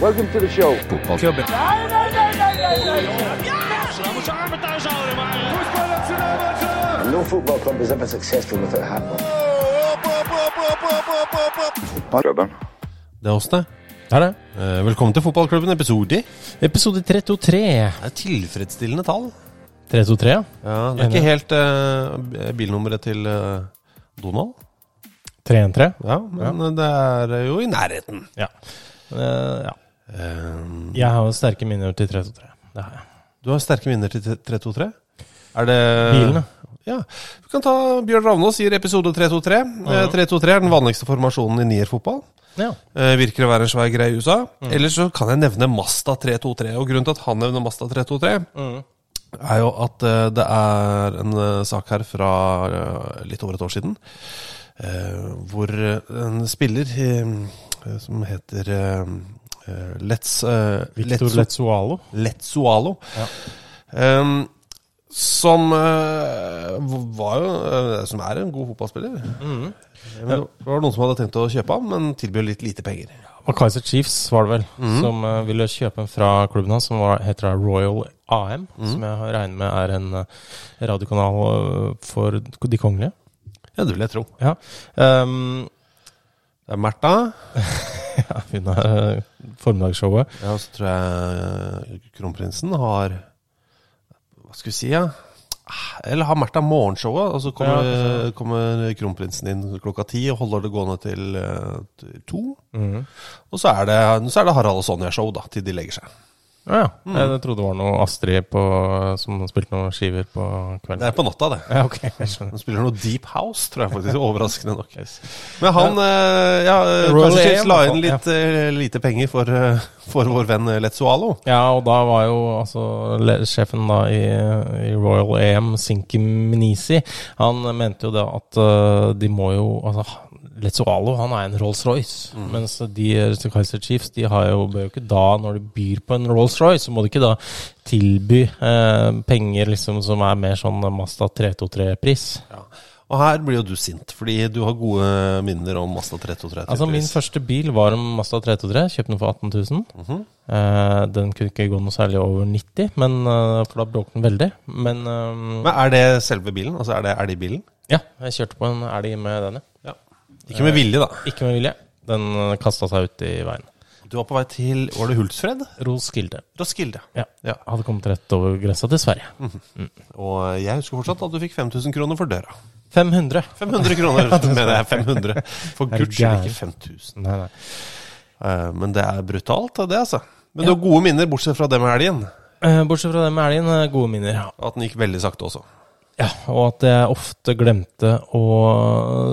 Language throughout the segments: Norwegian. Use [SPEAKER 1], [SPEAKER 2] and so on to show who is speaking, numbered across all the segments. [SPEAKER 1] Welcome to the show. And no football club is ever successful without having one.
[SPEAKER 2] Det er oss, det. Eh, Velkommen til fotballklubben, episode
[SPEAKER 3] Episode 323.
[SPEAKER 2] Det er tilfredsstillende tall.
[SPEAKER 3] 323, ja.
[SPEAKER 2] Ja, det er ikke helt eh, bilnummeret til eh, Donald,
[SPEAKER 3] 313.
[SPEAKER 2] ja, men eh, det er jo i nærheten.
[SPEAKER 3] Ja. Men, eh, ja.
[SPEAKER 2] Eh,
[SPEAKER 3] Jeg har jo sterke minner til 323. Det har jeg.
[SPEAKER 2] du har sterke minner til 323. Er det
[SPEAKER 3] Bilen,
[SPEAKER 2] Ja. Vi kan ta Bjørn Ravnås sier episode 323. Eh, 323 er den vanligste formasjonen i nierfotball.
[SPEAKER 3] ja.
[SPEAKER 2] Eh, virker å være en svær greie i USA. Ellers så kan jeg nevne Masta 323. Og grunnen til at han nevner Masta 323, er jo at eh, det er en eh, sak her fra eh, litt over et år siden, eh, hvor eh, en spiller eh, som heter eh, eh, Let's eh,
[SPEAKER 3] Victor
[SPEAKER 2] Letso-
[SPEAKER 3] Letzualo.
[SPEAKER 2] Letzualo. Ehm, som eh, var jo eh, Som er en god fotballspiller. Men det var noen som hadde tenkt å kjøpe ham, men tilbød litt lite penger.
[SPEAKER 3] Og Kaiser Chiefs var det vel,
[SPEAKER 2] Mhm.
[SPEAKER 3] som eh, ville kjøpe en fra klubben hans, som var, heter da Royal AM.
[SPEAKER 2] Mhm.
[SPEAKER 3] Som jeg har regnet med er en eh, radiokanal eh, for de kongelige.
[SPEAKER 2] Ja, det vil jeg tro.
[SPEAKER 3] Ja. Ehm,
[SPEAKER 2] Det er Märtha.
[SPEAKER 3] ja, hun er eh, formiddagsshowet.
[SPEAKER 2] Ja, og så tror jeg eh, kronprinsen har Hva skal vi si, ja? Ah, Eller har Märtha morgenshowet, og så kommer,
[SPEAKER 3] Ja,
[SPEAKER 2] kommer kronprinsen inn klokka ti og holder det gående til eh, til to.
[SPEAKER 3] Mhm.
[SPEAKER 2] Og så er, det, så er det Harald og Sonja-show, da, til de legger seg.
[SPEAKER 3] Ja, ja.
[SPEAKER 2] Mhm.
[SPEAKER 3] Jeg trodde det var noe Astrid på, eh, som spilte noen skiver på kvelden.
[SPEAKER 2] Det er på natta, det.
[SPEAKER 3] Ja, ok, jeg skjønner.
[SPEAKER 2] Han spiller noe Deep House, tror jeg faktisk. Overraskende nok. Men han eh, ja, eh,
[SPEAKER 3] Royal
[SPEAKER 2] kanskje
[SPEAKER 3] AM,
[SPEAKER 2] Chiefs la inn
[SPEAKER 3] i hvert
[SPEAKER 2] litt eh, lite penger for, eh, for vår venn Letzualo.
[SPEAKER 3] Ja, og da var jo altså le- sjefen da i, i Royal AM, Sinki Minisi, han mente jo det at eh, de må jo altså, Letzoalo han er en Rolls-Royce, mens de eh, Kaiser Chiefs de har jo, bør jo ikke da, når de byr på en Rolls-Royce, så må de ikke da tilby eh, penger liksom som er mer sånn Masta 323-pris.
[SPEAKER 2] Og her blir jo du sint, fordi du har gode minner om Mazda 323.
[SPEAKER 3] Altså Min
[SPEAKER 2] tydeligvis.
[SPEAKER 3] første bil var en Mazda 323. Kjøpte den for 18 000. Eh, den kunne ikke gå noe særlig over 90, men, eh, for da bråkte den veldig. Men eh,
[SPEAKER 2] Men er det selve bilen? Altså Er det elgbilen?
[SPEAKER 3] ja, jeg kjørte på en elg med den. ja.
[SPEAKER 2] Ja. Ikke
[SPEAKER 3] Eh,
[SPEAKER 2] med vilje, da.
[SPEAKER 3] Ikke med vilje. Den uh, kasta seg ut i veien.
[SPEAKER 2] Du var på vei til Var det Hultsfred?
[SPEAKER 3] Roskilde.
[SPEAKER 2] Roskilde.
[SPEAKER 3] Ja. Hadde kommet rett over grensa til Sverige.
[SPEAKER 2] Og jeg husker fortsatt at du fikk 5000 kroner for døra.
[SPEAKER 3] 500.
[SPEAKER 2] 500 kroner, mener jeg. 500. For
[SPEAKER 3] Er du
[SPEAKER 2] guds skyld,
[SPEAKER 3] gæren?
[SPEAKER 2] ikke 5000.
[SPEAKER 3] Nei, nei.
[SPEAKER 2] Eh, Men det er brutalt, det, altså. Men du har gode minner, bortsett fra det med elgen.
[SPEAKER 3] Eh, bortsett fra det med elgen, eh, gode minner.
[SPEAKER 2] Og At den gikk veldig sakte også.
[SPEAKER 3] Ja, og at jeg ofte glemte å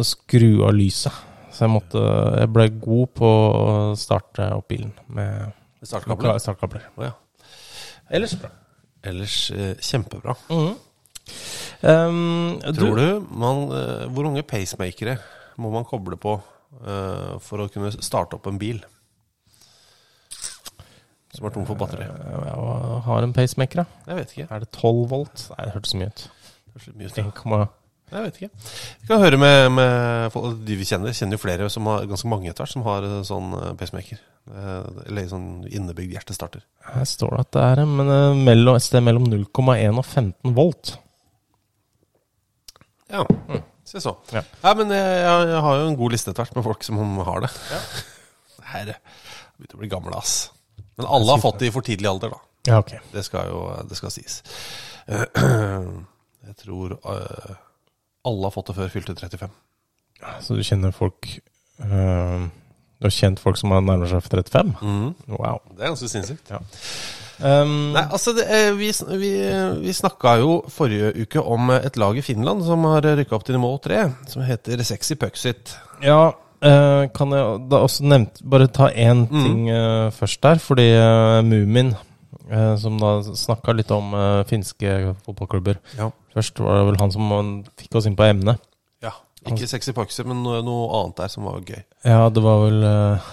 [SPEAKER 3] skru av lyset. Så jeg, måtte, jeg ble god på å starte opp bilen med
[SPEAKER 2] Startkabler.
[SPEAKER 3] startkabler.
[SPEAKER 2] Å, ja.
[SPEAKER 3] Ellers bra.
[SPEAKER 2] Ellers eh, kjempebra.
[SPEAKER 3] Um,
[SPEAKER 2] Tror du man, eh, Hvor mange pacemakere må man koble på eh, for å kunne starte opp en bil som er tom for batteri?
[SPEAKER 3] Jeg har en pacemaker, da.
[SPEAKER 2] Eh, Jeg vet ikke.
[SPEAKER 3] Er det 12 volt? Nei, det hørtes mye ut.
[SPEAKER 2] Det er så mye å si.
[SPEAKER 3] 1,8.
[SPEAKER 2] Jeg vet ikke. Vi kan høre med, med folk, de vi kjenner. Kjenner jo flere, som har, ganske mange etter hvert, som har eh, sånn eh, pacemaker. Eh, Eller sånn innebygd hjertestarter.
[SPEAKER 3] Her står det at det er en, men, eh, mellom, et sted mellom 0,1 og 15 volt.
[SPEAKER 2] Ja, Mm. Se så.
[SPEAKER 3] Ja.
[SPEAKER 2] Nei, men eh, jeg, jeg, jeg har jo en god liste etter hvert med folk som har det. Det her jeg begynte å bli gammel, ass. Men alle har fått det i for tidlig alder, da.
[SPEAKER 3] Ja, ok.
[SPEAKER 2] Det skal jo det skal sies. Jeg tror eh, alle har fått det før fylte 35.
[SPEAKER 3] Så du kjenner folk eh, Du har kjent folk som har nærmer seg 35? Wow.
[SPEAKER 2] Det er ganske sinnssykt.
[SPEAKER 3] Um,
[SPEAKER 2] Nei, altså det, eh, Vi, sn- vi, vi snakka jo forrige uke om eh, et lag i Finland som har rykka opp til nivå 3, som heter Sexy Pucksit.
[SPEAKER 3] Ja, eh, kan jeg da også nevnt, bare ta én
[SPEAKER 2] Mm.
[SPEAKER 3] ting eh, først der. Fordi eh, Mumin, eh, som da snakka litt om eh, finske fotballklubber
[SPEAKER 2] Ja.
[SPEAKER 3] Først var det vel han som eh, fikk oss inn på emnet.
[SPEAKER 2] Ikke Sexy Pucksit, men noe, noe annet der som var gøy.
[SPEAKER 3] Ja, det var vel eh,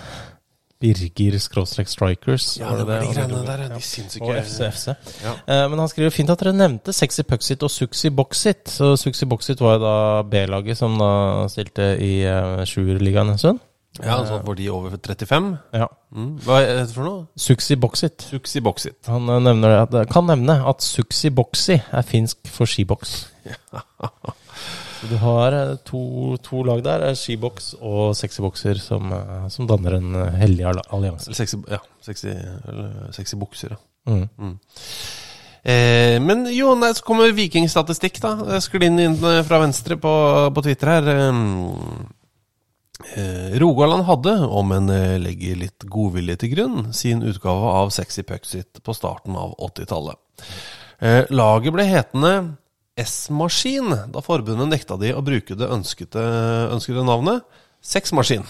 [SPEAKER 3] Birger skråstrek Strikers.
[SPEAKER 2] Ja, det var de greiene der. De
[SPEAKER 3] Og
[SPEAKER 2] sinnssyke
[SPEAKER 3] FCFC.
[SPEAKER 2] Ja.
[SPEAKER 3] Eh, men han skriver fint at dere nevnte Sexy Pucksit og Suxy Boxit. Så Suxy Boxit var jo da B-laget som da stilte i eh, sjuerligaen en stund.
[SPEAKER 2] Ja, altså Var de over 35?
[SPEAKER 3] Ja.
[SPEAKER 2] Mm. Hva er det for noe?
[SPEAKER 3] Suxy Boxit.
[SPEAKER 2] Suxi Boxit.
[SPEAKER 3] Han eh, nevner at, kan nevne at Suxi Boxi er finsk for skiboks. Så du har eh, to, to lag der, eh, skiboks og sexy bokser, som, eh, som danner en eh, hellig al- allianse.
[SPEAKER 2] Eller sexy, ja, sexy, eller sexy bukser, ja.
[SPEAKER 3] Mm.
[SPEAKER 2] Eh, men jo, nei, så kommer vikingstatistikk, da. Jeg Sklir inn, inn eh, fra venstre på, på Twitter her. Eh, eh, Rogaland hadde, om en eh, legger litt godvilje til grunn, sin utgave av Sexy Pucksit på starten av 80-tallet. Eh, laget ble hetende S-maskin da forbundet nekta de å bruke det ønskete, ønskede navnet Sexmaskin.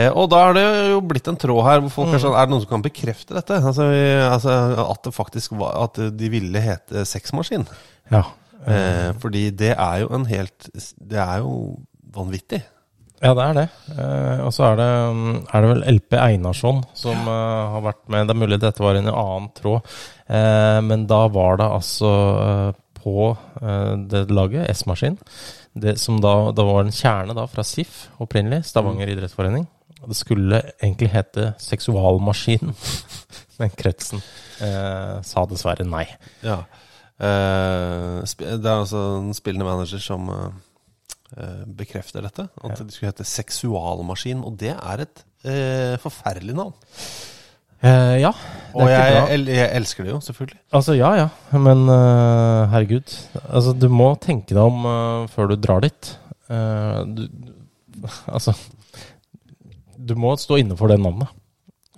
[SPEAKER 2] Eh, og da er det jo blitt en tråd her hvor folk er sånn Er det noen som kan bekrefte dette? Altså, vi, altså At det faktisk var At de ville hete sexmaskin.
[SPEAKER 3] Ja.
[SPEAKER 2] Eh, fordi det er jo en helt Det er jo vanvittig.
[SPEAKER 3] ja, det er det. Eh, og så er det, mm, er det vel LP Einarsson som eh, har vært med. Det er mulig dette var i en annen tråd, eh, men da var det altså eh, på eh, det laget, S-maskin, det som da, da var en kjerne da, fra SIF opprinnelig,
[SPEAKER 2] Mm.
[SPEAKER 3] Stavanger idrettsforening. Og Det skulle egentlig hete Seksualmaskinen, men kretsen eh, sa dessverre nei.
[SPEAKER 2] Ja. Eh, sp- det er altså en spillende manager som eh, eh, bekrefter dette. At de skulle hete Seksualmaskin. Og det er et eh, forferdelig navn.
[SPEAKER 3] Eh, ja. det er
[SPEAKER 2] Og
[SPEAKER 3] ikke
[SPEAKER 2] jeg,
[SPEAKER 3] bra.
[SPEAKER 2] el- jeg elsker det jo, selvfølgelig.
[SPEAKER 3] Altså, ja ja, men eh, herregud. Altså, du må tenke deg om eh, før du drar dit. Eh, du, du- altså Du må stå inne for det navnet.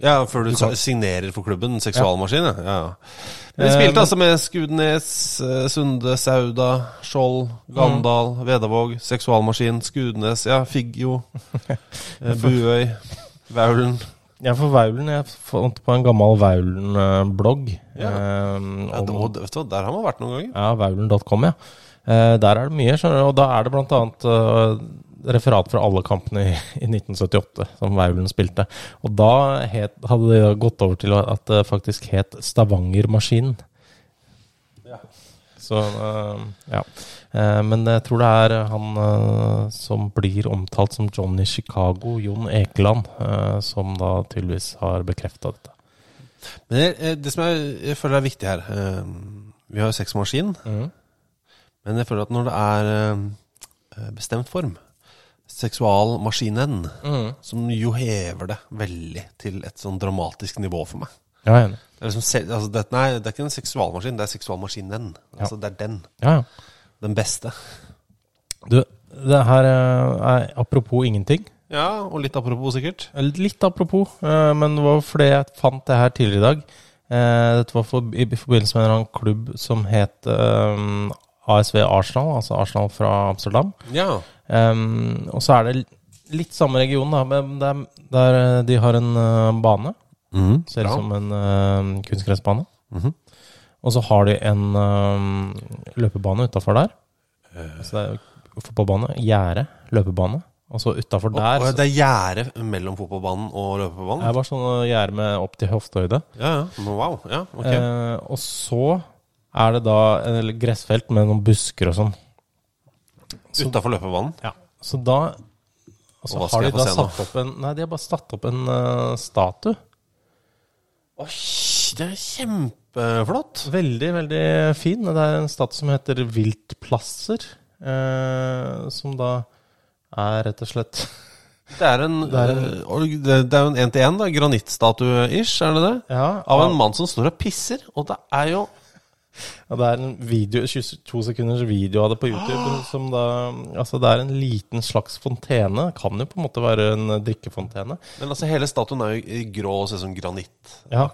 [SPEAKER 2] Ja, før du, sa- signerer for klubben. Seksualmaskin, ja. ja. Men de spilte
[SPEAKER 3] Eh,
[SPEAKER 2] altså med Skudenes, eh, Sunde, Sauda, Skjold, Gandal, Vedavåg, Seksualmaskin, Skudenes, ja, Figgjo, eh, Buøy, Vaulen.
[SPEAKER 3] Ja, for Vaulen Jeg fant på en gammel eh, Vaulen-blogg.
[SPEAKER 2] Ja.
[SPEAKER 3] Eh,
[SPEAKER 2] Ja, det, og, vet du, hva, der har man vært noen ganger.
[SPEAKER 3] Ja, vaulen.com, ja. Eh, der er det mye, skjønner du. Og da er det blant annet eh, referat fra alle kampene i, i 1978 som Vaulen spilte. Og da het, hadde det gått over til at det faktisk het Stavangermaskinen. Så eh, ja. Eh, men jeg tror det er han eh, som blir omtalt som Johnny Chicago, Jon Ekeland, eh, som da tydeligvis har bekrefta dette.
[SPEAKER 2] Men det, eh, det som jeg, jeg føler er viktig her eh, Vi har jo sexmaskin, men jeg føler at når det er eh, bestemt form Seksualmaskinen, som jo hever det veldig til et sånn dramatisk nivå for meg.
[SPEAKER 3] Ja, jeg er enig.
[SPEAKER 2] Det er liksom, se- altså det, nei, det er ikke en seksualmaskin, det er seksualmaskinen. Altså, det er den.
[SPEAKER 3] Ja, ja.
[SPEAKER 2] Den beste.
[SPEAKER 3] Du, det her eh, er apropos ingenting.
[SPEAKER 2] Ja, og litt apropos, sikkert.
[SPEAKER 3] Eller Litt apropos, eh, men det var fordi jeg fant det her tidligere i dag. Eh, Dette var for, i forbindelse med en eller annen klubb som het eh, ASV Arsenal, altså Arsenal fra Amsterdam.
[SPEAKER 2] Ja.
[SPEAKER 3] Eh, og så er det l- litt samme region, da, men det er- der eh, de har en eh, bane. Ser ut
[SPEAKER 2] Mhm, bra. Mhm.
[SPEAKER 3] som en eh, kunstgressbane. Og så har de en eh, løpebane utafor der.
[SPEAKER 2] Eh.
[SPEAKER 3] Så det er jo fotballbane, gjerde, løpebane. Og så utafor
[SPEAKER 2] Og,
[SPEAKER 3] der
[SPEAKER 2] og
[SPEAKER 3] så-
[SPEAKER 2] det er gjerde mellom fotballbanen og løpebanen?
[SPEAKER 3] det var sånn gjerde med opp til hoftehøyde.
[SPEAKER 2] Ja, ja. Men Wow. Ja, ok.
[SPEAKER 3] Eh, og så er det da et gressfelt med noen busker og sånn.
[SPEAKER 2] Utafor løpebanen.
[SPEAKER 3] Så da og så
[SPEAKER 2] Og hva skal
[SPEAKER 3] har de
[SPEAKER 2] jeg få
[SPEAKER 3] da
[SPEAKER 2] se nå?
[SPEAKER 3] satt opp en Nei, de har bare satt opp en eh, statue.
[SPEAKER 2] Oi, det er kjempeflott!
[SPEAKER 3] Veldig, veldig fin. Det er en statue som heter Viltplasser. eh, eh, som da er rett og slett
[SPEAKER 2] Det er en Det er, det er jo en én-til-én, da. Granittstatue-ish, er det det?
[SPEAKER 3] Ja,
[SPEAKER 2] Av en mann som står og pisser. Og det er jo
[SPEAKER 3] Ja, det er en video, 22 sekunders video av det på YouTube. Som da, altså det er en liten slags fontene. Kan jo på en måte være en drikkefontene.
[SPEAKER 2] Men altså, hele statuen er jo i grå og ser ut som granitt.
[SPEAKER 3] Ja.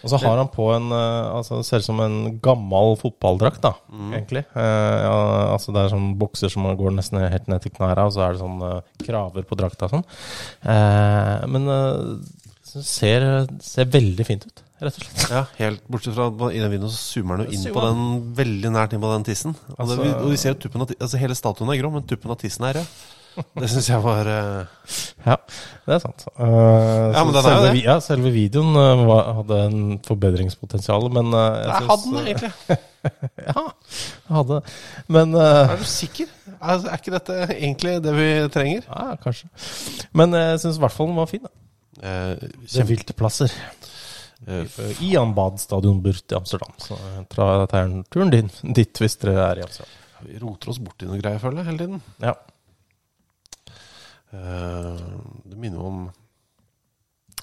[SPEAKER 3] Og så har han på en eh, altså Det ser ut som en gammel fotballdrakt, da,
[SPEAKER 2] Mm.
[SPEAKER 3] egentlig. Eh, ja, altså Det er sånn bukser som går nesten ned- helt ned til knærne, og så er det sånn eh, kraver på drakta og sånn. Eh, men eh, det ser, ser veldig fint ut, rett og slett.
[SPEAKER 2] Ja, helt Bortsett fra at i den videoen så zoomer han jo inn på den veldig nært inn på den tissen. Og, det,
[SPEAKER 3] Altså-
[SPEAKER 2] og vi ser jo tuppen av, ti- altså Hele statuen er grå, men tuppen av tissen er rød. Det syns jeg var eh,
[SPEAKER 3] Ja, det er sant. Eh,
[SPEAKER 2] Ja, men
[SPEAKER 3] så
[SPEAKER 2] den er jo
[SPEAKER 3] selve,
[SPEAKER 2] det.
[SPEAKER 3] vi- Ja, selve videoen eh, var, hadde en forbedringspotensial, men eh, jeg
[SPEAKER 2] Der
[SPEAKER 3] synes- eh,
[SPEAKER 2] hadde den det, egentlig.
[SPEAKER 3] Ja, den hadde Men eh,
[SPEAKER 2] Er du sikker? Altså, er ikke dette egentlig det vi trenger?
[SPEAKER 3] ja, kanskje. Men eh, jeg syns i hvert fall den var fin. da.
[SPEAKER 2] Eh,
[SPEAKER 3] Det er vilteplasser.
[SPEAKER 2] eh,
[SPEAKER 3] I Anbad stadion Burt i Amsterdam. Så jeg tar tar en turen din, dit hvis dere er i Amsterdam.
[SPEAKER 2] vi roter oss borti noe greier, føler jeg, hele tiden.
[SPEAKER 3] Ja.
[SPEAKER 2] Eh, det minner jo om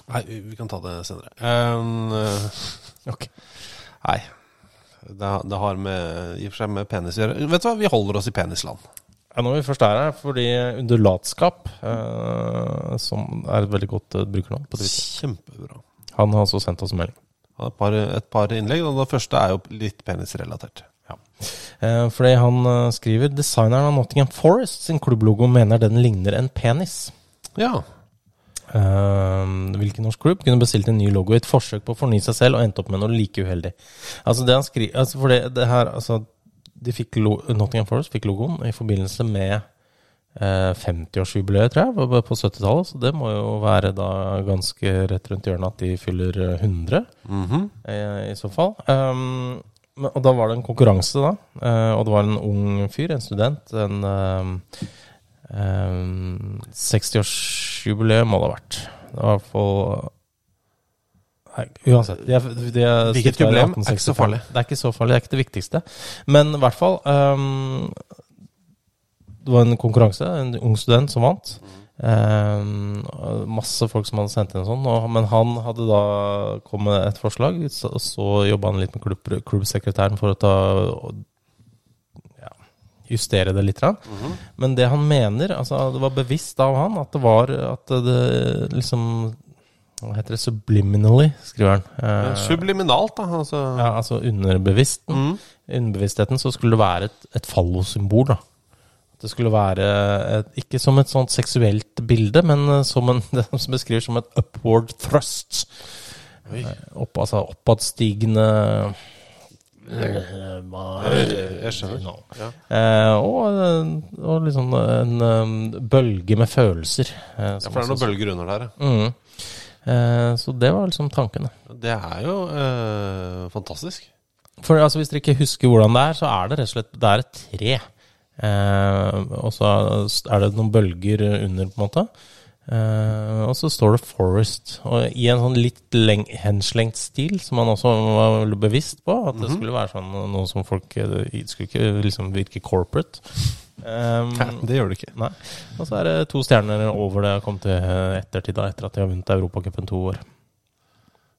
[SPEAKER 2] Nei, vi vi kan ta det senere. Eh, eh,
[SPEAKER 3] Ok.
[SPEAKER 2] Nei. Det, det har med, i og for seg med penis å gjøre. Vet du hva, vi holder oss i penisland.
[SPEAKER 3] Ja, når vi først er her, fordi undulatskap, eh, som er et veldig godt eh, brukernavn på Twitter
[SPEAKER 2] Kjempebra.
[SPEAKER 3] Han har også sendt oss en melding.
[SPEAKER 2] Jeg har Et par, et par innlegg, og det første er jo litt penisrelatert.
[SPEAKER 3] Eh, fordi han eh, skriver Designeren av Nottingham Forest sin klubblogo mener den ligner en penis.
[SPEAKER 2] Ja.
[SPEAKER 3] Eh, hvilken norsk klubb kunne bestilt en ny logo i et forsøk på å fornye seg selv og endte opp med noe like uheldig? Altså det han skri- altså for det, det her, altså de fikk lo Nottingham Forest fikk logoen i forbindelse med eh, 50-årsjubileet, tror jeg, var det på 70-tallet. Så det må jo være da ganske rett rundt hjørnet at de fyller eh, 100, eh, i så fall. Um, men, og da var det en konkurranse, da. eh, og det var en ung fyr, en student, en um, um, 60-årsjubileum må det ha vært. Det var i hvert fall Nei, uansett. De er, de er
[SPEAKER 2] Hvilket
[SPEAKER 3] stiftet i
[SPEAKER 2] jubileum er ikke så
[SPEAKER 3] 1865.
[SPEAKER 2] farlig.
[SPEAKER 3] Det er ikke så farlig, det er ikke det viktigste. Men i hvert fall um, det var en konkurranse, en ung student som vant. Eh, masse folk som hadde sendt inn sånn. Og, men han hadde da kommet med et forslag, så, og så jobba han litt med klubb, klubbsekretæren for å ta og, ja, justere det litt. grann. Men det han mener, altså det var bevisst av han, at det var at det liksom Hva heter det? Subliminally, skriver han. Eh,
[SPEAKER 2] Subliminalt, da. Altså.
[SPEAKER 3] ja, altså underbevisst.
[SPEAKER 2] Mm.
[SPEAKER 3] Underbevisstheten så skulle det være et, et fallosymbol, da. At Det skulle være et, ikke som et sånt seksuelt bilde, men eh, som en, det som beskriver som et upward thrust.
[SPEAKER 2] Oi.
[SPEAKER 3] Eh, Opp, altså oppadstigende
[SPEAKER 2] Eh,
[SPEAKER 3] Jeg
[SPEAKER 2] skjønner. Ja.
[SPEAKER 3] Eh, og, eh, og liksom en eh, bølge med følelser. Eh,
[SPEAKER 2] Ja,
[SPEAKER 3] som
[SPEAKER 2] for det er noen
[SPEAKER 3] også-
[SPEAKER 2] bølger under der. ja.
[SPEAKER 3] Mm. Eh, så det var liksom tanken. da.
[SPEAKER 2] Det er jo eh, fantastisk.
[SPEAKER 3] For altså, Hvis dere ikke husker hvordan det er, så er det rett og slett det er et tre. Eh, og så er det noen bølger under, på en måte. Eh, og så står det 'Forest'. Og I en sånn litt leng henslengt stil, som han også var veldig bevisst på. At
[SPEAKER 2] Mhm.
[SPEAKER 3] det skulle være sånn noe som folk eh, skulle ikke liksom virke corporate. Um,
[SPEAKER 2] det gjør det ikke.
[SPEAKER 3] Nei. Og så er det to stjerner over det jeg kom til eh, ettertid, da, etter at de har vunnet Europacupen to år.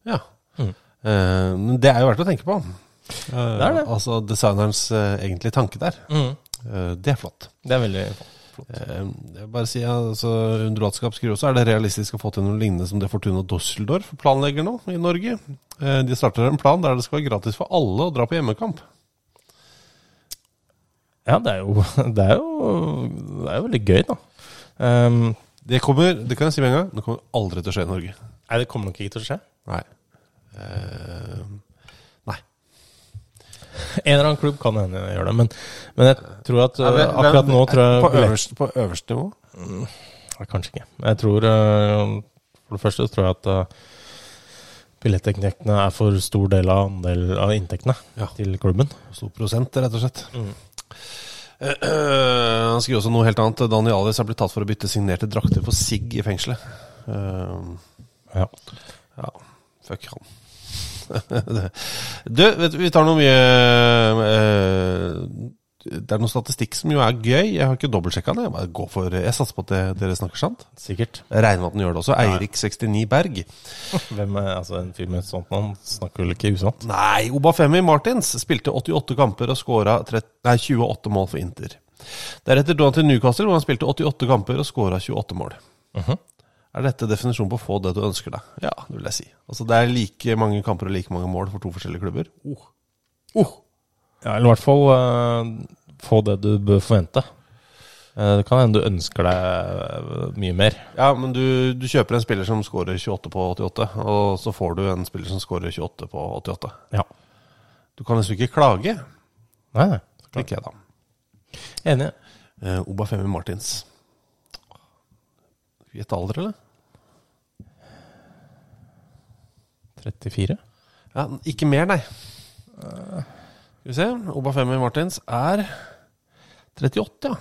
[SPEAKER 2] Ja.
[SPEAKER 3] Mm.
[SPEAKER 2] Eh, men det er jo verdt å tenke på. Eh,
[SPEAKER 3] Det er det.
[SPEAKER 2] Altså designerens eh, egentlige tanke der.
[SPEAKER 3] Mm.
[SPEAKER 2] Eh, det er flott.
[SPEAKER 3] Det er veldig flott.
[SPEAKER 2] Eh, Jeg vil bare si, altså, Undulatskap skriver også er det realistisk å få til noe lignende som det Fortuna Düsseldorf planlegger nå i Norge. Eh, De starter en plan der det skal være gratis for alle å dra på hjemmekamp.
[SPEAKER 3] Ja, det er jo, det er jo, det er jo veldig gøy, da. Ehm,
[SPEAKER 2] Det kommer, det kan jeg si med en gang, det kommer aldri til å skje i Norge.
[SPEAKER 3] nei, det kommer nok ikke til å skje.
[SPEAKER 2] Nei. Eh, Nei.
[SPEAKER 3] En eller annen klubb kan hende gjøre det, men, men jeg tror at
[SPEAKER 2] Nei,
[SPEAKER 3] øh,
[SPEAKER 2] men-
[SPEAKER 3] akkurat
[SPEAKER 2] men-
[SPEAKER 3] nå tror jeg
[SPEAKER 2] På øverste, på øverste nivå?
[SPEAKER 3] Nei, Kanskje ikke. Jeg tror øh, For det første så tror jeg at øh, billettinntektene er for stor del av andel av inntektene
[SPEAKER 2] Ja.
[SPEAKER 3] til klubben.
[SPEAKER 2] Stor prosent, rett og slett. Eh, Mm. eh, han skriver også noe helt annet. Daniel Alice har blitt tatt for å bytte signerte drakter for sigg i fengselet. Eh,
[SPEAKER 3] Ja.
[SPEAKER 2] Ja, fuck han. du, vet, du, vi tar noe mye eh, det er noen statistikk som jo er gøy. Jeg har ikke dobbeltsjekka det. Jeg, bare går for, jeg satser på at det, dere snakker sant.
[SPEAKER 3] Sikkert.
[SPEAKER 2] Jeg regner med at den gjør det også. Eirik69 Berg.
[SPEAKER 3] Hvem er, altså En fyr med et sånt navn snakker vel ikke usant?
[SPEAKER 2] Nei, Obafemi Martins spilte 88 kamper og skåra 28 mål for Inter. Deretter dro han til Newcastle, hvor han spilte 88 kamper og skåra 28 mål. Mhm. Er dette definisjonen på å få det du ønsker deg? Ja, det vil jeg si. Altså, det er like mange kamper og like mange mål for to forskjellige klubber. Oh. Oh.
[SPEAKER 3] Ja, Eller i hvert fall eh, få det du bør forvente. Eh, det kan hende du ønsker deg eh, mye mer.
[SPEAKER 2] Ja, men du, du kjøper en spiller som scorer 28 på 88, og så får du en spiller som scorer 28 på 88.
[SPEAKER 3] Ja.
[SPEAKER 2] Du kan nesten ikke klage,
[SPEAKER 3] Nei, nei. så klart.
[SPEAKER 2] tenker jeg da.
[SPEAKER 3] Enig.
[SPEAKER 2] Eh, Obafemi Martins. Gjett alder, eller?
[SPEAKER 3] 34?
[SPEAKER 2] Ja, ikke mer, nei. Eh, Skal vi se. Obafemi Martins er 38, ja.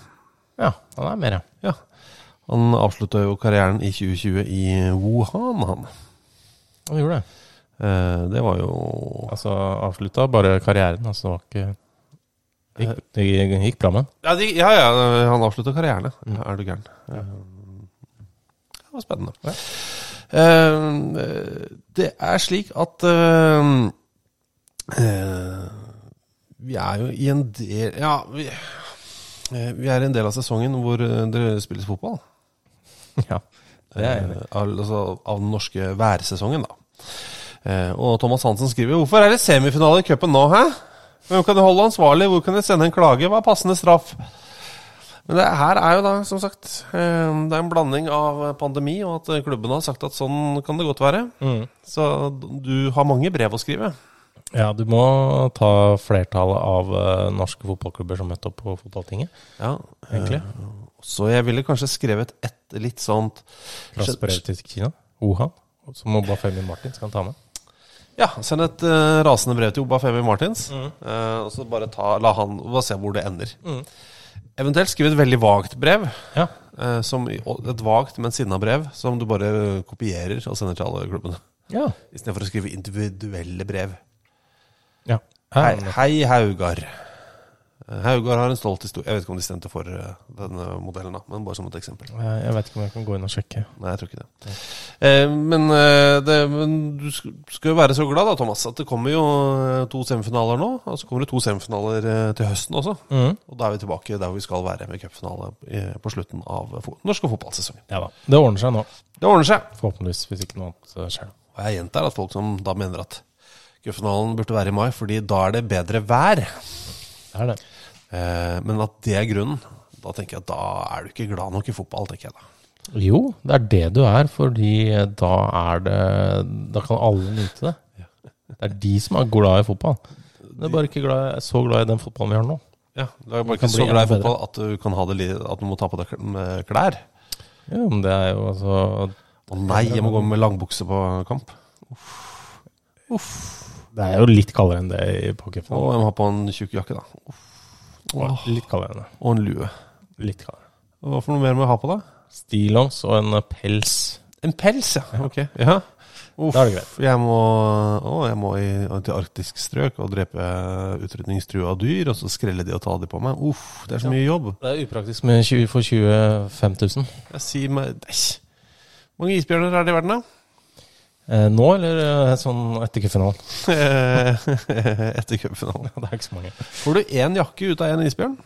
[SPEAKER 3] Ja, han er mer, ja.
[SPEAKER 2] ja. Han avslutta jo karrieren i 2020 i Wuhan, han.
[SPEAKER 3] Han gjorde det.
[SPEAKER 2] Eh, Det var jo
[SPEAKER 3] Altså avslutta bare karrieren, altså var ikke det gikk, det gikk bra med den.
[SPEAKER 2] Ja, de, ja, ja han avslutta karrieren, ja. Er du gæren. Eh, Det var spennende. Eh, Det er slik at eh, eh, Vi er jo i en del Ja, vi, eh, vi er i en del av sesongen hvor eh, det spilles fotball.
[SPEAKER 3] Ja, det er jeg enig i.
[SPEAKER 2] Eh, al- altså av den norske værsesongen, da. Eh, og Thomas Hansen skriver Hvorfor er det semifinale i cupen nå, hæ? Hvem kan du holde ansvarlig? Hvor kan jeg sende en klage? Hva er passende straff? Men det her er jo da, som sagt, eh, det er en blanding av pandemi og at eh, klubbene har sagt at sånn kan det godt være.
[SPEAKER 3] Eh, Mm.
[SPEAKER 2] Så d- du har mange brev å skrive.
[SPEAKER 3] Ja, du må ta flertallet av eh, norske fotballklubber som møtte opp på fotballtinget,
[SPEAKER 2] Ja,
[SPEAKER 3] egentlig.
[SPEAKER 2] Så jeg ville kanskje skrevet et litt sånt
[SPEAKER 3] Raskt brev til Kina. Wuhan. Som Obafemi Martin skal ta med.
[SPEAKER 2] Ja, send et eh, rasende brev til Obafemi Martins, eh, og så bare ta, la han bare se hvor det ender. Eventuelt skriv et veldig vagt brev,
[SPEAKER 3] Ja.
[SPEAKER 2] eh, som, i- og et vagt, men sinna brev, som du bare eh, kopierer og sender til alle klubbene.
[SPEAKER 3] Ja.
[SPEAKER 2] Istedenfor å skrive individuelle brev.
[SPEAKER 3] ja.
[SPEAKER 2] Hei,
[SPEAKER 3] men-
[SPEAKER 2] hei Haugar. Eh, Haugar har en stolt historie. Jeg vet ikke om de stemte for eh, denne modellen, da, men bare som et eksempel.
[SPEAKER 3] Eh, Jeg jeg vet ikke om jeg kan gå inn og sjekke.
[SPEAKER 2] Nei, jeg tror ikke det. Eh, men, eh, det, men du sk- skal jo være så glad da, Thomas, at det kommer jo eh, to semifinaler nå. Og så kommer det to semifinaler eh, til høsten også. Og da er vi tilbake der vi skal være med cupfinale eh, på slutten av fo norske fotballsesongen.
[SPEAKER 3] Ja da. Det ordner seg nå.
[SPEAKER 2] Det ordner seg.
[SPEAKER 3] Forhåpentligvis, hvis ikke noe annet eh, skjer.
[SPEAKER 2] Og jeg gjentar at folk som da mener at cupfinalen burde være i mai, fordi da er det bedre vær.
[SPEAKER 3] Det er det.
[SPEAKER 2] Eh, men at det er grunnen. Da tenker jeg at da er du ikke glad nok i fotball, tenker jeg da.
[SPEAKER 3] Jo, det er det du er, fordi eh, da er det Da kan alle nyte det. Det er de som er glad i fotball. De er bare ikke glad, så glad i den fotballen vi har nå.
[SPEAKER 2] Ja, Du er bare
[SPEAKER 3] kan
[SPEAKER 2] ikke så
[SPEAKER 3] bli
[SPEAKER 2] glad i
[SPEAKER 3] enda bedre.
[SPEAKER 2] fotball at du, kan ha det, li- at du må ta på deg kl- med klær.
[SPEAKER 3] Ja, men det er jo altså
[SPEAKER 2] Å nei, jeg må gå med langbukse på kamp.
[SPEAKER 3] Det er jo litt kaldere enn det i pokerfall.
[SPEAKER 2] Og jeg må ha på en tjukk jakke, da. Uff,
[SPEAKER 3] Litt kaldere enn det.
[SPEAKER 2] Og en lue.
[SPEAKER 3] Litt kaldere.
[SPEAKER 2] Og Hva for noe mer må jeg ha på, da?
[SPEAKER 3] Stillongs og en eh, pels.
[SPEAKER 2] En pels, ja. Ok, ja. Uff,
[SPEAKER 3] Da er det greit.
[SPEAKER 2] Jeg må, å, jeg må i, til arktisk strøk og drepe utrydningstrua dyr, og så skrelle de og ta de på meg. Uff, det er så mye jobb.
[SPEAKER 3] Det er upraktisk med 20 for 25 000.
[SPEAKER 2] Jeg sier meg Æsj. Hvor mange isbjørner er det i verden, da?
[SPEAKER 3] Eh, nå, eller eh, sånn etter cupfinalen?
[SPEAKER 2] Etter cupfinalen.
[SPEAKER 3] Det er ikke så mange.
[SPEAKER 2] Får du én jakke ut av én isbjørn?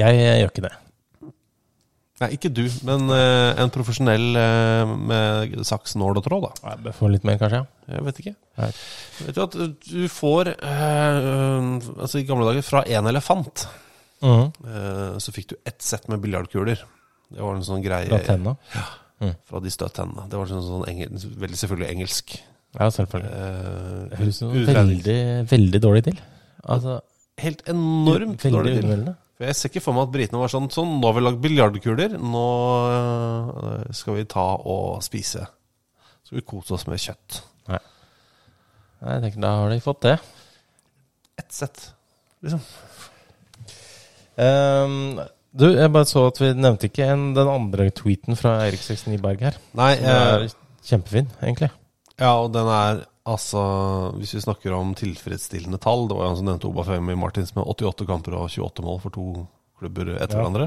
[SPEAKER 3] Jeg, eh, gjør ikke det.
[SPEAKER 2] Nei, ikke du, men eh, en profesjonell eh, med saks, nål og tråd, da.
[SPEAKER 3] Jeg bør få litt mer, kanskje. ja.
[SPEAKER 2] Jeg vet ikke.
[SPEAKER 3] Nei.
[SPEAKER 2] Vet du at du får eh, Altså i gamle dager, fra én elefant
[SPEAKER 3] Mhm.
[SPEAKER 2] eh, så fikk du ett sett med biljardkuler. Det var en sånn greie
[SPEAKER 3] Fra tenna?
[SPEAKER 2] fra de stø tennene. Det var sånn, sånn engel, veldig selvfølgelig engelsk.
[SPEAKER 3] Ja, selvfølgelig. Det høres jo
[SPEAKER 2] Uh,
[SPEAKER 3] veldig, veldig dårlig til. Altså,
[SPEAKER 2] Helt enormt
[SPEAKER 3] veldig
[SPEAKER 2] dårlig til.
[SPEAKER 3] underveldende.
[SPEAKER 2] For jeg ser ikke for meg at britene var sånn Sånn, nå har vi lagd biljardkuler, nå eh, skal vi ta og spise. Så skal vi kose oss med kjøtt.
[SPEAKER 3] Nei. Nei, jeg tenker, da har de fått det.
[SPEAKER 2] Ett sett, liksom.
[SPEAKER 3] Ehm, du, jeg bare så at vi nevnte ikke en, den andre tweeten fra Eirik 69 Berg her.
[SPEAKER 2] Nei,
[SPEAKER 3] Den er
[SPEAKER 2] eh,
[SPEAKER 3] kjempefin, egentlig.
[SPEAKER 2] Ja, og den er Altså, hvis vi snakker om tilfredsstillende tall Det var jo han som nevnte Obafemi Martins med 88 kamper og 28 mål for to klubber etter hverandre.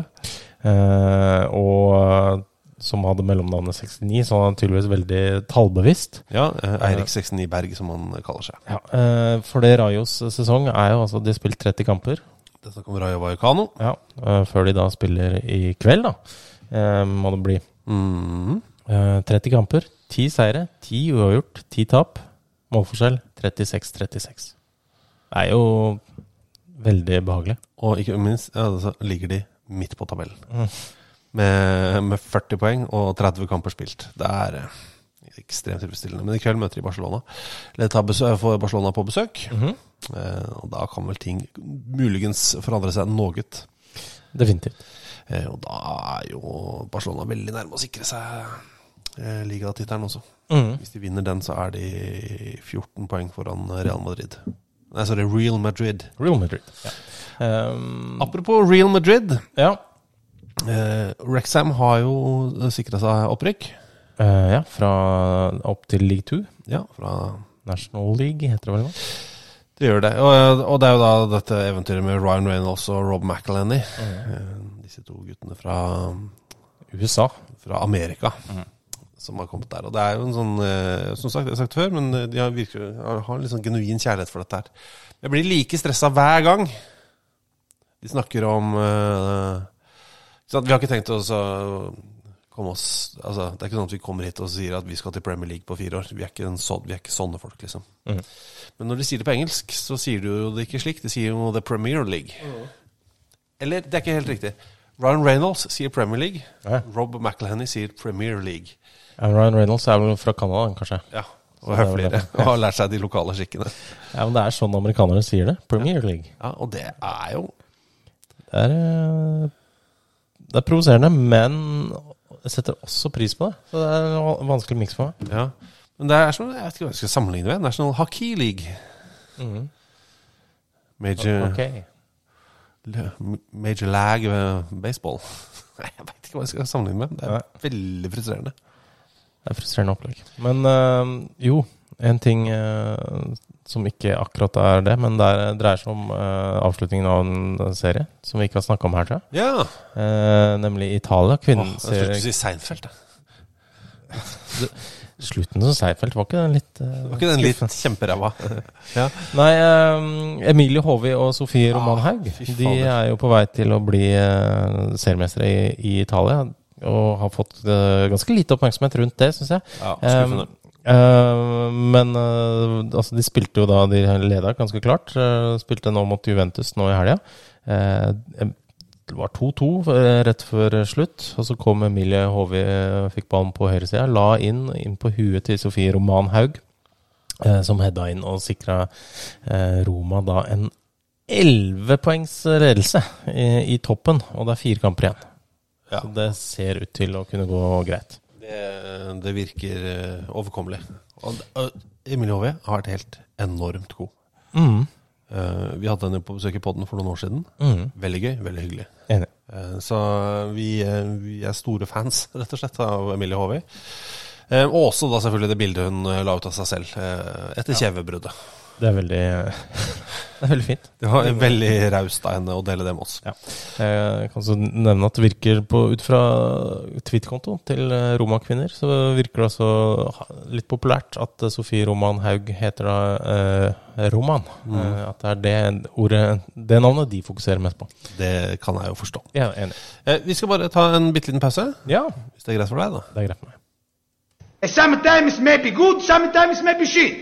[SPEAKER 3] Eh, og som hadde mellomnavnet 69, så han er tydeligvis veldig tallbevisst.
[SPEAKER 2] Ja, eh, Eirik 69 Berg, som han kaller seg.
[SPEAKER 3] Eh, for det Rajos sesong er jo altså De har spilt 30 kamper.
[SPEAKER 2] Det er snakk om Rayo Vallecano.
[SPEAKER 3] Ja, eh, før de da spiller i kveld, da, eh, må det bli.
[SPEAKER 2] Mhm.
[SPEAKER 3] Eh, 30 kamper, 10 seire, 10 uavgjort, 10 tap. Målforskjell 36-36. Det er jo veldig behagelig.
[SPEAKER 2] Og ikke minst ja, så ligger de midt på tabellen. Med, med 40 poeng og 30 kamper spilt. Det er eh, ekstremt tilfredsstillende. Men i kveld møter de Barcelona. Eller tar besøk, får Barcelona på besøk. eh, og da kan vel ting muligens forandre seg noe.
[SPEAKER 3] Definitivt.
[SPEAKER 2] Eh, og da er jo Barcelona veldig nærme å sikre seg eh, ligatittelen også. Hvis de vinner den, så er de 14 poeng foran Real Madrid. Nei, sorry, Real Madrid.
[SPEAKER 3] Real Madrid. Ja. Ehm,
[SPEAKER 2] Apropos Real Madrid.
[SPEAKER 3] ja.
[SPEAKER 2] Eh, Rexham har jo sikra seg opprykk.
[SPEAKER 3] Eh, ja, fra opp til league 2.
[SPEAKER 2] Ja, fra
[SPEAKER 3] National League heter det vel nå.
[SPEAKER 2] Det gjør det. Og, eh, og det er jo da dette eventyret med Ryan Reynolds og Rob McElhenney. Eh, Disse to guttene fra,
[SPEAKER 3] USA.
[SPEAKER 2] fra Amerika som har kommet der. Og det er jo en sånn eh, Som sagt, jeg har sagt det før, men eh, de har, virker, har har en litt sånn genuin kjærlighet for dette her. Jeg blir like stressa hver gang de snakker om eh, ikke sant, Vi har ikke tenkt oss å komme oss altså, Det er ikke sånn at vi kommer hit og sier at vi skal til Premier League på fire år. Vi er ikke, en sånn, vi er ikke sånne folk, liksom. Men når de sier det på engelsk, så sier de jo det ikke slik. De sier jo The Premier League. Eller, det er ikke helt riktig. Ryan Reynolds sier Premier League.
[SPEAKER 3] Ja.
[SPEAKER 2] Rob McElhenney sier Premier League.
[SPEAKER 3] Ja, Ryan Reynolds er vel fra Canada, kanskje.
[SPEAKER 2] Ja,
[SPEAKER 3] Så
[SPEAKER 2] Og
[SPEAKER 3] det er vel
[SPEAKER 2] høfligere.
[SPEAKER 3] derfor.
[SPEAKER 2] Og har lært seg de lokale skikkene.
[SPEAKER 3] Ja, men Det er sånn amerikanere sier det. Premier League.
[SPEAKER 2] Ja, Og det er jo
[SPEAKER 3] Det er, eh, det er provoserende, men jeg setter også pris på det. Så det er en vanskelig miks for meg.
[SPEAKER 2] Ja. Men det er som Jeg vet ikke hva jeg skal sammenligne med. National Hockey League. Major,
[SPEAKER 3] Mm. Ok.
[SPEAKER 2] l- major lag eh, baseball. Nei, Jeg veit ikke hva jeg skal sammenligne med. Det er
[SPEAKER 3] Nei.
[SPEAKER 2] veldig frustrerende.
[SPEAKER 3] Det er frustrerende opplegg. Men eh, jo, en ting eh, som ikke akkurat er det, men det er- dreier seg om eh, avslutningen av en serie som vi ikke har snakka om her, tror jeg.
[SPEAKER 2] Ja!
[SPEAKER 3] Eh, nemlig Italia.
[SPEAKER 2] Åh,
[SPEAKER 3] Kvinnen
[SPEAKER 2] jeg skulle
[SPEAKER 3] ser
[SPEAKER 2] si Seinfeld. da.
[SPEAKER 3] Slutten som Seifeld, var ikke den litt eh,
[SPEAKER 2] Var ikke den litt kjemperæva? ja.
[SPEAKER 3] Nei, eh, Emilie Håvi og Sofie Romanhaug
[SPEAKER 2] Ah, fy fader.
[SPEAKER 3] De er jo på vei til å bli eh, seriemestere i, i Italia. Og har fått eh, ganske lite oppmerksomhet rundt det, syns jeg.
[SPEAKER 2] Ja,
[SPEAKER 3] Eh,
[SPEAKER 2] skuffende.
[SPEAKER 3] eh, men eh, altså, de spilte jo da De leda ganske klart. eh, spilte nå mot Juventus nå i helga. Eh, det var 2-2 eh, rett før slutt, og så kom Emilie Håvi, eh, fikk ballen på høyresida, la inn, inn på huet til Sofie Romanhaug eh, som heada inn og sikra eh, Roma da en 11 poengs ledelse i, i toppen, og det er fire kamper igjen.
[SPEAKER 2] Ja.
[SPEAKER 3] Så det ser ut til å kunne gå greit.
[SPEAKER 2] Det, det virker eh, overkommelig. Og, og Emilie Håve har vært helt enormt god. Eh, vi hadde henne på besøk i podden for noen år siden. Veldig gøy, veldig hyggelig.
[SPEAKER 3] Enig.
[SPEAKER 2] Eh, så vi, eh, vi er store fans, rett og slett, av Emilie Håve. Eh, og også da selvfølgelig det bildet hun eh, la ut av seg selv eh, etter kjevebruddet.
[SPEAKER 3] Det er veldig, det er veldig fint.
[SPEAKER 2] Det var veldig raust av henne å dele det med oss.
[SPEAKER 3] Ja. Jeg kan også nevne at det virker på, ut fra Twitter-konto til eh, Roma-kvinner, så virker det altså ha- litt populært at eh, Sofie Roman Haug heter da eh, Roman. Eh, at det er det ordet, det navnet de fokuserer mest på.
[SPEAKER 2] Det kan jeg jo forstå.
[SPEAKER 3] Ja, enig.
[SPEAKER 2] Eh, vi skal bare ta en bitte liten pause,
[SPEAKER 3] Ja,
[SPEAKER 2] hvis det er greit for deg, da.
[SPEAKER 3] det er greit for meg.
[SPEAKER 4] Sometimes may be good, sometimes may be shit.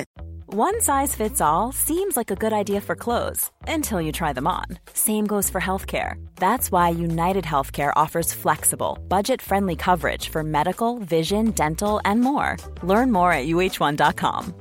[SPEAKER 5] One size fits all seems like a good idea for clothes until you try them on. Same goes for healthcare. That's why United Healthcare offers flexible, budget friendly coverage for medical, vision, dental, and more. Learn more at uh1.com.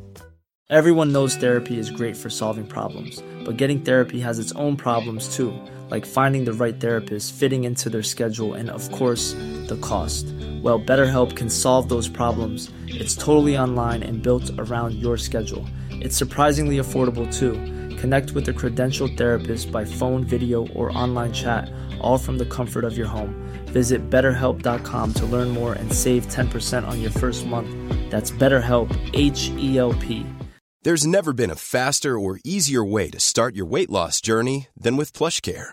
[SPEAKER 6] Everyone knows therapy is great for solving problems, but getting therapy has its own problems too, like finding the right therapist, fitting into their schedule, and of course, the cost. Well, BetterHelp can solve those problems. It's totally online and built around your schedule. It's surprisingly affordable too. Connect with a credentialed therapist by phone, video, or online chat, all from the comfort of your home. Visit betterhelp.com to learn more and save 10% on your first month. That's BetterHelp, H E L P.
[SPEAKER 7] There's never been a faster or easier way to start your weight loss journey than with PlushCare.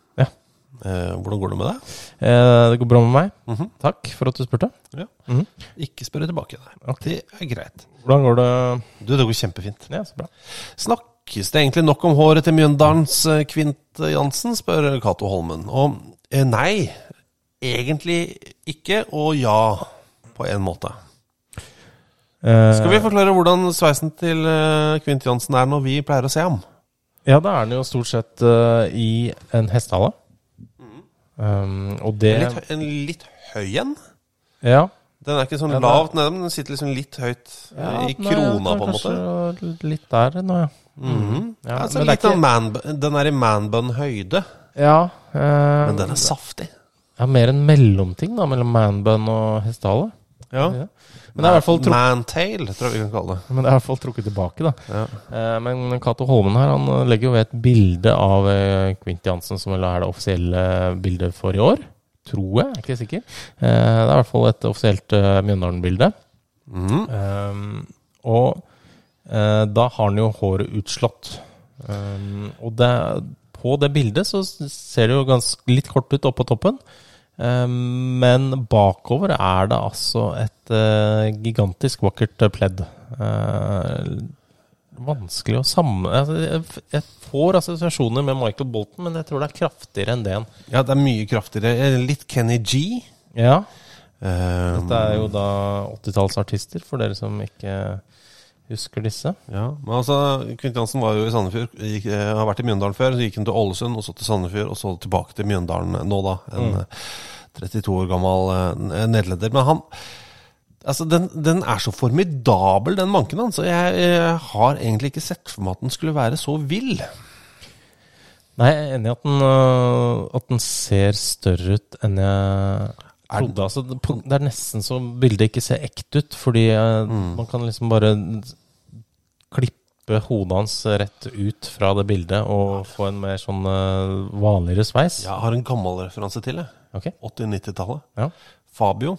[SPEAKER 3] Ja.
[SPEAKER 2] Eh, hvordan går det med deg?
[SPEAKER 3] Eh, det går bra med meg.
[SPEAKER 2] Mhm.
[SPEAKER 3] Takk for at du spurte.
[SPEAKER 2] Ikke spørre tilbake. Nei. Det er greit.
[SPEAKER 3] Hvordan går det?
[SPEAKER 2] Du, det går kjempefint.
[SPEAKER 3] Ja, så bra.
[SPEAKER 2] Snakkes det egentlig nok om håret til Mjøndalens eh, Kvint Jansen, spør Cato Holmen. Og eh, nei, egentlig ikke, og ja, på en måte.
[SPEAKER 3] Eh,
[SPEAKER 2] Skal vi forklare hvordan sveisen til eh, Kvint Jansen er når vi pleier å se ham?
[SPEAKER 3] Ja, da er den jo stort sett eh, i en hestehale. Um, og det
[SPEAKER 2] En litt, hø- en litt høy en.
[SPEAKER 3] Ja.
[SPEAKER 2] Den er ikke sånn
[SPEAKER 3] Ja, det er-
[SPEAKER 2] lavt nede, men den sitter liksom litt høyt eh, i krona, på en måte.
[SPEAKER 3] måte. Litt der nå, ja. Mm. ja,
[SPEAKER 2] altså,
[SPEAKER 3] men det er
[SPEAKER 2] litt av
[SPEAKER 3] ikke-
[SPEAKER 2] man, den er i manbun-høyde,
[SPEAKER 3] Ja, eh,
[SPEAKER 2] men den er saftig.
[SPEAKER 3] ja, mer en mellomting da, mellom manbun og hestehale.
[SPEAKER 2] Ja.
[SPEAKER 3] Ja. Men det er i hvert fall trukket
[SPEAKER 2] Mantail, tror jeg vi kan kalle det.
[SPEAKER 3] Men det er i hvert fall trukket tilbake, da. Eh, men Cato Holmen her han eh, legger jo ved et bilde av eh, Quint Jansen, som vel er det offisielle bildet for i år. Tror jeg, er ikke sikker. Eh, det er i hvert fall et offisielt eh, Mjøndalen-bilde.
[SPEAKER 2] Mm.
[SPEAKER 3] Eh, og eh, da har han jo håret utslått. Eh, og det, på det bildet så s- ser det jo ganske litt kort ut oppå toppen. Eh, Men bakover er det altså et eh, gigantisk vakkert eh, pledd. Eh, vanskelig å samme... Altså, jeg f- jeg får assosiasjoner med Michael Bolton, men jeg tror det er kraftigere enn det igjen.
[SPEAKER 2] Ja, det er mye kraftigere. Eh, Litt Kenny G.
[SPEAKER 3] Ja,
[SPEAKER 2] Um,
[SPEAKER 3] det er jo da 80-tallsartister, for dere som ikke husker disse.
[SPEAKER 2] ja. Men altså, Kvint Jansen var jo i Sandefjord, gikk, eh, har vært i Mjøndalen før. Så gikk han til Ålesund, og så til Sandefjord, og så tilbake til Mjøndalen nå, da.
[SPEAKER 3] Mm.
[SPEAKER 2] En eh, 32 år gammel eh, nederlender. Men han Altså, den, den er så formidabel, den manken hans. og Jeg, jeg har egentlig ikke sett for meg at den skulle være så vill.
[SPEAKER 3] Nei, jeg er enig i at den, øh, at den ser større ut enn jeg trodde. Altså, det på- det er nesten så bildet ikke ser ekte ut, fordi øh, man kan liksom bare klippe hodet hans rett ut fra det bildet og få en mer sånn øh, vanligere sveis.
[SPEAKER 2] Jeg har en gammel referanse til, jeg.
[SPEAKER 3] Ok.
[SPEAKER 2] 80-90-tallet.
[SPEAKER 3] Ja.
[SPEAKER 2] Fabio.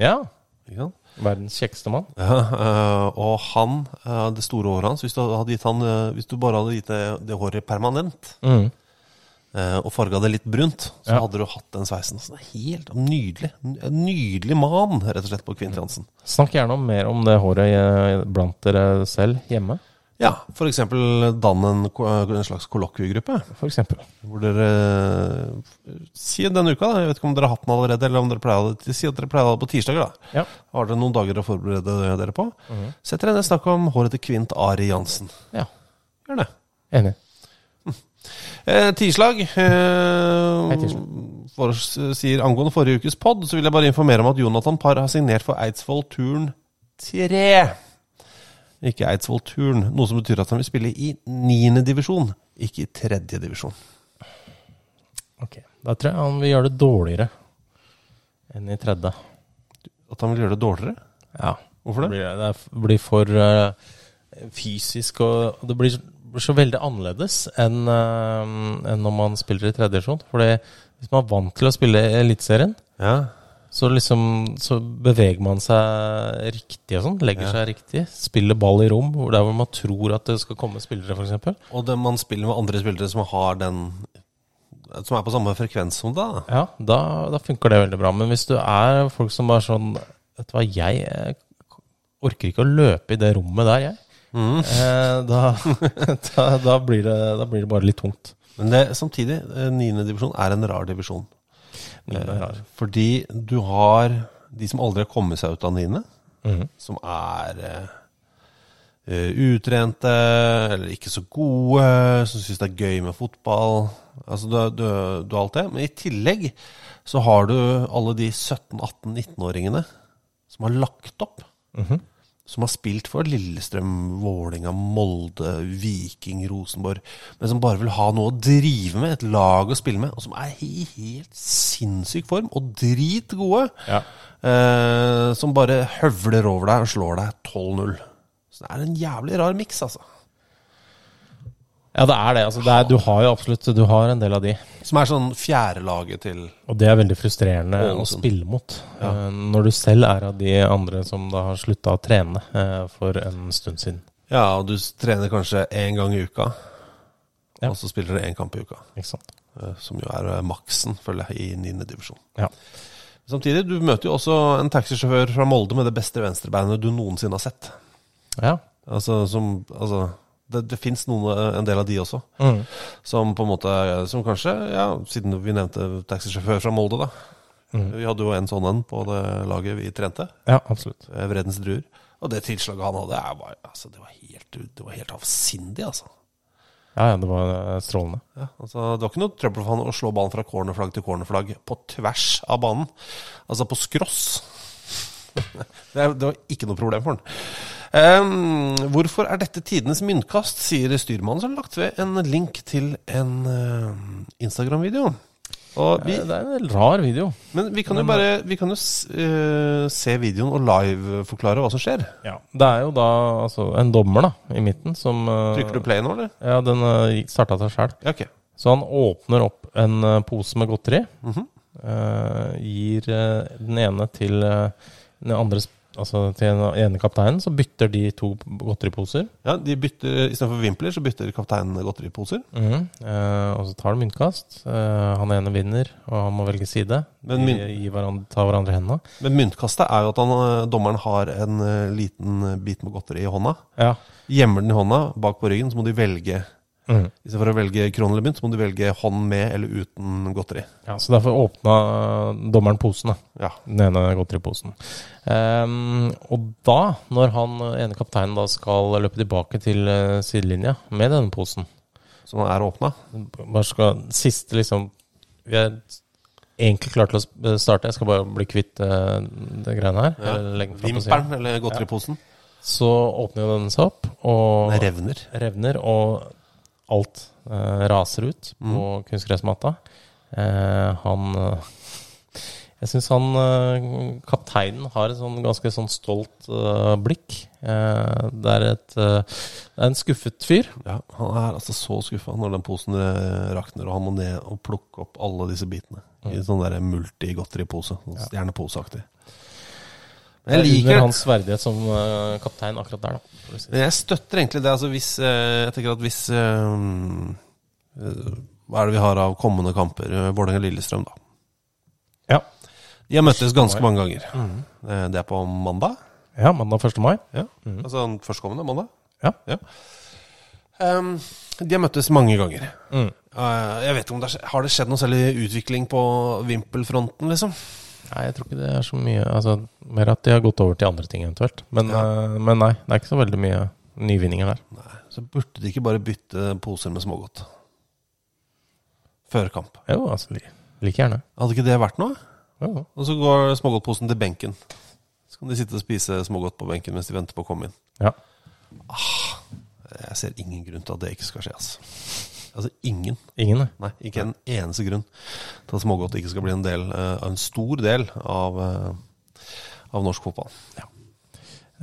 [SPEAKER 3] ja.
[SPEAKER 2] Ikke sant?
[SPEAKER 3] Verdens kjekkeste mann.
[SPEAKER 2] Ja, eh, og han, eh, det store håret hans Hvis du, hadde gitt han, eh, hvis du bare hadde gitt det, det håret permanent
[SPEAKER 3] Mm.
[SPEAKER 2] eh, og farga det litt brunt, så
[SPEAKER 3] Ja.
[SPEAKER 2] hadde du hatt den sveisen. Så det er helt nydelig. En nydelig man, rett og slett, på Kvint Jansen.
[SPEAKER 3] Snakk gjerne om mer om det håret eh, blant dere selv hjemme,
[SPEAKER 2] Ja, f.eks. dann en, ko- en slags kollokviegruppe.
[SPEAKER 3] f.eks.
[SPEAKER 2] Hvor dere eh, Si denne uka, da. Jeg vet ikke om dere har hatt den allerede, eller om dere pleier å ha det- Si at dere pleier å ha det på tirsdager, da.
[SPEAKER 3] Ja.
[SPEAKER 2] Har dere noen dager å forberede dere på? Sett dere ned og snakk om håret til Kvint Ari Jansen.
[SPEAKER 3] ja.
[SPEAKER 2] Gjør det.
[SPEAKER 3] Enig.
[SPEAKER 2] Eh, Tislag, eh,
[SPEAKER 3] Tislag.
[SPEAKER 2] for, sier angående forrige ukes pod, så vil jeg bare informere om at Jonathan Parr har signert for Eidsvoll Turn 3. Ikke Eidsvoll Turn, noe som betyr at han vil spille i niende divisjon, ikke i tredje divisjon.
[SPEAKER 3] Ok, Da tror jeg han vil gjøre det dårligere enn i tredje.
[SPEAKER 2] At han vil gjøre det dårligere?
[SPEAKER 3] Ja.
[SPEAKER 2] Hvorfor det?
[SPEAKER 3] Blir, det er- blir for eh, fysisk og og Det blir så veldig annerledes enn, eh, enn når man spiller i tredje divisjon. Fordi hvis man er vant til å spille i Eliteserien,
[SPEAKER 2] Ja.
[SPEAKER 3] Så liksom så beveger man seg riktig og sånn. Legger
[SPEAKER 2] Ja.
[SPEAKER 3] seg riktig. Spiller ball i rom hvor der hvor man tror at det skal komme spillere, f.eks.
[SPEAKER 2] Og det, man spiller med andre spillere som har den Som er på samme frekvens som deg. da.
[SPEAKER 3] Ja, da, da funker det veldig bra. Men hvis du er folk som er sånn Vet du hva, jeg eh, orker ikke å løpe i det rommet der, jeg. Eh, da, da, da, blir det, da blir det bare litt tungt.
[SPEAKER 2] Men det, samtidig, eh, niende divisjon er en rar divisjon.
[SPEAKER 3] Niende er
[SPEAKER 2] Eh,
[SPEAKER 3] rar.
[SPEAKER 2] Fordi du har de som aldri har kommet seg ut av niende,
[SPEAKER 3] Mhm.
[SPEAKER 2] som er eh, eh, utrente eller ikke så gode, som syns det er gøy med fotball. Altså du, du, du har alt det. Men i tillegg så har du alle de 17-18-19-åringene som har lagt opp.
[SPEAKER 3] Mhm.
[SPEAKER 2] Som har spilt for Lillestrøm, Vålinga, Molde, Viking, Rosenborg. Men som bare vil ha noe å drive med, et lag å spille med. Og som er i helt sinnssyk form og dritgode.
[SPEAKER 3] Ja.
[SPEAKER 2] Eh, som bare høvler over deg og slår deg 12-0. Så det er en jævlig rar miks, altså.
[SPEAKER 3] Ja, det er det. Altså, det er, du har jo absolutt Du har en del av de.
[SPEAKER 2] Som er sånn fjerdelaget til
[SPEAKER 3] Og det er veldig frustrerende å sånn.
[SPEAKER 2] Ålesund.
[SPEAKER 3] spille mot. eh, Når du selv er av de andre som da har slutta å trene eh, for en stund siden.
[SPEAKER 2] Ja, og du s- trener kanskje én gang i uka,
[SPEAKER 3] Ja.
[SPEAKER 2] og så spiller du én kamp i uka.
[SPEAKER 3] Ikke sant?
[SPEAKER 2] Eh, Som jo er eh, maksen, føler jeg, i niende divisjon.
[SPEAKER 3] Ja.
[SPEAKER 2] Samtidig, du møter jo også en taxisjåfør fra Molde med det beste venstrebeinet du noensinne har sett.
[SPEAKER 3] ja.
[SPEAKER 2] Altså, som, altså det, det fins en del av de også,
[SPEAKER 3] Mm.
[SPEAKER 2] som på en måte Som kanskje, ja, siden vi nevnte taxisjåfør fra Molde, da. Vi hadde jo en sånn en på det laget vi trente,
[SPEAKER 3] Ja, absolutt.
[SPEAKER 2] eh, Vredens druer. Og det tilslaget han hadde, er bare, altså, det var helt, det var helt avsindig, altså.
[SPEAKER 3] Ja, ja, det var eh, strålende.
[SPEAKER 2] Ja, altså, det var ikke noe trøbbel for han å slå ballen fra cornerflagg til cornerflagg på tvers av banen. Altså på skross. Det, er- det var ikke noe problem for han. Ehm, hvorfor er dette tidenes myntkast, sier styrmannen, som har lagt ved en link til en ehm, Instagram-video. Og vi,
[SPEAKER 3] Eh, Det er en rar video.
[SPEAKER 2] men vi kan jo bare Vi kan jo s- eh, se videoen og live-forklare hva som skjer.
[SPEAKER 3] Ja. Det er jo da altså, en dommer da, i midten som eh,
[SPEAKER 2] Trykker du play nå, eller?
[SPEAKER 3] Ja, den starta seg sjæl.
[SPEAKER 2] Ja, ok.
[SPEAKER 3] Så han åpner opp en eh, pose med godteri.
[SPEAKER 2] Mhm.
[SPEAKER 3] eh, gir eh, den ene til eh, den andre sp- Altså til den ene kapteinen, så bytter de to godteriposer.
[SPEAKER 2] Ja, de bytter, Istedenfor vimpler så bytter kapteinen godteriposer.
[SPEAKER 3] Mhm. Eh, og så tar de myntkast. Eh, han ene vinner, og han må velge side.
[SPEAKER 2] Men mynt-
[SPEAKER 3] de gir hverandre, tar hverandre hendene.
[SPEAKER 2] Men myntkastet er jo at han, eh, dommeren har en eh, liten eh, bit med godteri i hånda.
[SPEAKER 3] Ja.
[SPEAKER 2] Gjemmer den i hånda, bak på ryggen, så må de velge.
[SPEAKER 3] Mhm.
[SPEAKER 2] I stedet for å velge krone eller mynt, så må du velge hånd med eller uten godteri.
[SPEAKER 3] ja så derfor åpna eh, dommeren posen, da.
[SPEAKER 2] Ja.
[SPEAKER 3] Den ene godteriposen. Ehm, og da, når han eh, ene kapteinen da skal løpe tilbake til eh, sidelinja med denne posen
[SPEAKER 2] Så den er åpna.
[SPEAKER 3] Bare skal Siste, liksom Vi er egentlig klare til å sp- starte. Jeg skal bare bli kvitt eh, det greiene her.
[SPEAKER 2] Ja.
[SPEAKER 3] eller legge den fra på siden.
[SPEAKER 2] Vimpelen eller godteriposen.
[SPEAKER 3] Så åpner jo denne seg opp, og
[SPEAKER 2] Den revner.
[SPEAKER 3] revner, og alt eh, raser ut på kunstgressmatta. Eh, han eh, Jeg syns han eh, kapteinen har et sånn ganske sånn stolt eh, blikk. Eh, det er et eh, Det er en skuffet fyr.
[SPEAKER 2] Ja, han er altså så skuffa når den posen eh, rakner, og han må ned og plukke opp alle disse bitene. I sånn der multigodteripose. Sånn Stjerneposeaktig. Men jeg liker
[SPEAKER 3] under
[SPEAKER 2] det.
[SPEAKER 3] hans verdighet som eh, kaptein akkurat der, da. for å si det.
[SPEAKER 2] Men jeg støtter egentlig det. Altså hvis, eh, jeg tenker at hvis eh, eh, Hva er det vi har av kommende kamper? Eh, Vålerenga-Lillestrøm, da.
[SPEAKER 3] Ja.
[SPEAKER 2] De har møttes ganske mange ganger. Eh, Det er på mandag.
[SPEAKER 3] ja, mandag 1. mai.
[SPEAKER 2] Ja. Altså den førstkommende mandag.
[SPEAKER 3] Ja.
[SPEAKER 2] Ja. Ehm, de har møttes mange ganger. Eh, jeg vet ikke om det har skje- Har det skjedd noe særlig utvikling på vimpelfronten, liksom?
[SPEAKER 3] Nei, jeg tror ikke det er så mye altså, Mer at de har gått over til andre ting, eventuelt. Men, eh, men nei, det er ikke så veldig mye nyvinninger der.
[SPEAKER 2] Så burde de ikke bare bytte poser med smågodt? Før kamp.
[SPEAKER 3] Jo, altså, li- like gjerne.
[SPEAKER 2] Hadde ikke det vært noe?
[SPEAKER 3] Jo, jo.
[SPEAKER 2] Og så går smågodtposen til benken. Så kan de sitte og spise smågodt på benken mens de venter på å komme inn.
[SPEAKER 3] Ja.
[SPEAKER 2] Jeg ser ingen grunn til at det ikke skal skje. Altså, altså ingen.
[SPEAKER 3] Ingen, det.
[SPEAKER 2] Nei, ikke en eneste grunn til at smågodt ikke skal bli en del, eh, en stor del av, eh, av norsk fotball.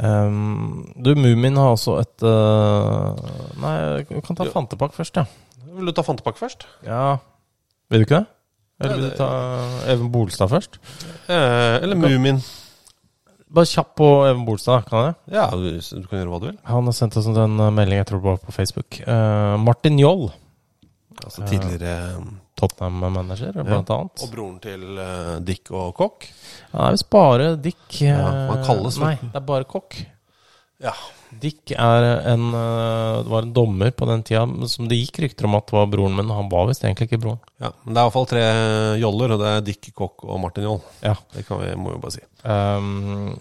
[SPEAKER 3] Ehm, du, Mumin har også et eh, Nei, vi kan ta
[SPEAKER 2] Jo.
[SPEAKER 3] Fantepak først, ja.
[SPEAKER 2] Vil du ta Fantepakke først?
[SPEAKER 3] ja. Vil du ikke det? Eller vil
[SPEAKER 2] Ja,
[SPEAKER 3] du
[SPEAKER 2] det-
[SPEAKER 3] ta Even Bolstad først?
[SPEAKER 2] Eh, eller Mumin.
[SPEAKER 3] Bare kjapp på Even Bolstad, kan jeg?
[SPEAKER 2] Ja, du, du kan gjøre hva du vil.
[SPEAKER 3] Han har sendt oss en eh, melding, jeg tror det var på Facebook. Eh, Martin Joll.
[SPEAKER 2] Altså tidligere
[SPEAKER 3] Tottenham-manager,
[SPEAKER 2] Ja.
[SPEAKER 3] blant annet.
[SPEAKER 2] Og broren til eh, Dick og Kokk.
[SPEAKER 3] Ja, det er visst bare Dick. eh,
[SPEAKER 2] Ja, han kalles vel-
[SPEAKER 3] Nei, det er bare kokk.
[SPEAKER 2] Ja.
[SPEAKER 3] Dick er en, eh, var en dommer på den tida som det gikk rykter om at var broren min. Han var visst egentlig ikke broren.
[SPEAKER 2] Ja, men det er i hvert fall tre joller, og det er Dick, Kokk og Martin Joll.
[SPEAKER 3] Ja.
[SPEAKER 2] Det kan vi, må vi bare si.
[SPEAKER 3] Um,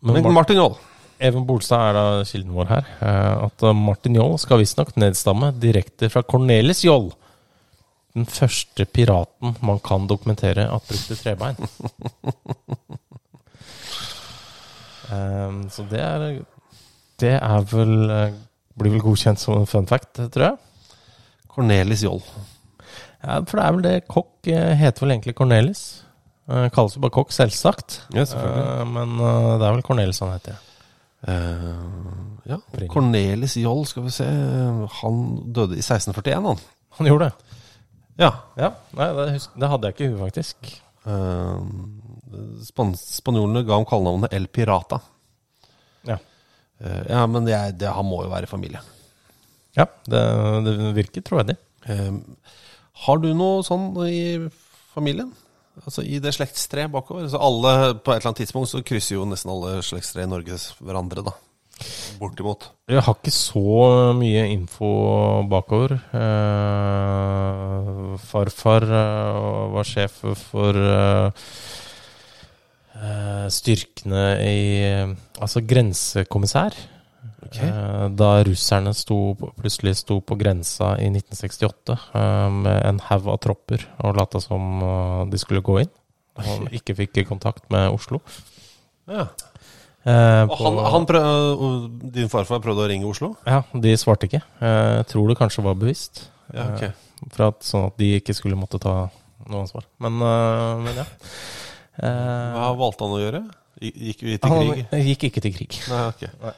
[SPEAKER 2] Men
[SPEAKER 3] Mar-
[SPEAKER 2] Martin Joll.
[SPEAKER 3] Even Bolstad er da kilden vår her. eh, At eh, Martin Joll skal visstnok nedstamme direkte fra Cornelis Joll. Den første piraten man kan dokumentere at brukte trebein. Eh, så det er Det er vel eh, Blir vel godkjent som en fun fact, tror jeg.
[SPEAKER 2] Cornelis Joll.
[SPEAKER 3] Ja, for det er vel det kokk eh, heter vel egentlig Cornelis. Eh, kalles jo bare kokk, selvsagt.
[SPEAKER 2] Ja, selvfølgelig.
[SPEAKER 3] Eh, men eh, det er vel Cornelis han heter.
[SPEAKER 2] Eh, ja.
[SPEAKER 3] Opprinnelig.
[SPEAKER 2] Cornelis Joll, skal vi se. Han døde i 1641, han.
[SPEAKER 3] Han gjorde det.
[SPEAKER 2] Ja.
[SPEAKER 3] Ja, nei, det, husk, det hadde jeg ikke i huet, faktisk.
[SPEAKER 2] Eh, span spanjolene ga ham kallenavnet El Pirata.
[SPEAKER 3] Ja.
[SPEAKER 2] Eh, ja, men det, er- det, han må jo være i familie.
[SPEAKER 3] Ja, det, det virker troverdig.
[SPEAKER 2] Eh, har du noe sånn i familien? Altså I det slektstreet bakover? Så alle, på et eller annet tidspunkt så krysser jo nesten alle slektstre i Norge hverandre, da. Bortimot.
[SPEAKER 3] Jeg har ikke så mye info bakover. Eh, farfar eh, var sjef for eh, eh, styrkene i Altså grensekommissær. Eh, Da russerne sto, på- plutselig sto på grensa i 1968 eh, med en haug av tropper og lata som eh, de skulle gå inn, og ikke fikk kontakt med Oslo.
[SPEAKER 2] Ja.
[SPEAKER 3] Eh,
[SPEAKER 2] Og
[SPEAKER 3] på-
[SPEAKER 2] han, han prøv, og din farfar prøvde å ringe Oslo?
[SPEAKER 3] Ja, de svarte ikke. Eh, Jeg tror det kanskje var bevisst.
[SPEAKER 2] Ja, ok.
[SPEAKER 3] Eh, For at, sånn at de ikke skulle måtte ta noe ansvar. Men, eh, men ja. Eh,
[SPEAKER 2] Hva valgte han å gjøre? Gikk vi til
[SPEAKER 3] han
[SPEAKER 2] krig?
[SPEAKER 3] gikk ikke til krig.
[SPEAKER 2] Nei, ok.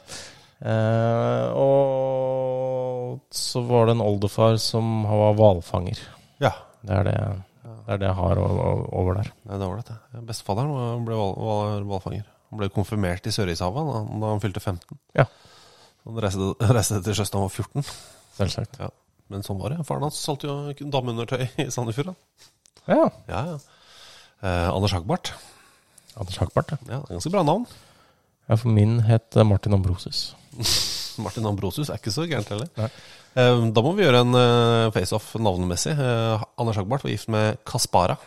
[SPEAKER 3] Eh, og så var det en oldefar som var hvalfanger.
[SPEAKER 2] Ja.
[SPEAKER 3] Det er det, det er det jeg har o- o- over der.
[SPEAKER 2] Nei, det var ålreit, det. Bestefaderen var- ble hval- var hvalfanger. Han ble konfirmert i Sørishavet da, da han fylte 15.
[SPEAKER 3] Ja.
[SPEAKER 2] Han reiste, reiste til sjøs da han var 14.
[SPEAKER 3] Selvsagt.
[SPEAKER 2] Ja. Men sånn var det. Faren hans solgte jo dameundertøy i Sandefjord. da.
[SPEAKER 3] Ja.
[SPEAKER 2] Ja, ja. Eh, Anders Hagbart.
[SPEAKER 3] Anders Hagbart, ja.
[SPEAKER 2] Ja, ganske bra navn.
[SPEAKER 3] ja. For min het eh, Martin Ambrosius.
[SPEAKER 2] Martin Ambrosius er ikke så gærent heller.
[SPEAKER 3] Nei.
[SPEAKER 2] Eh, Da må vi gjøre en eh, face-off navnemessig. Eh, Anders Hagbart var gift med Kaspara.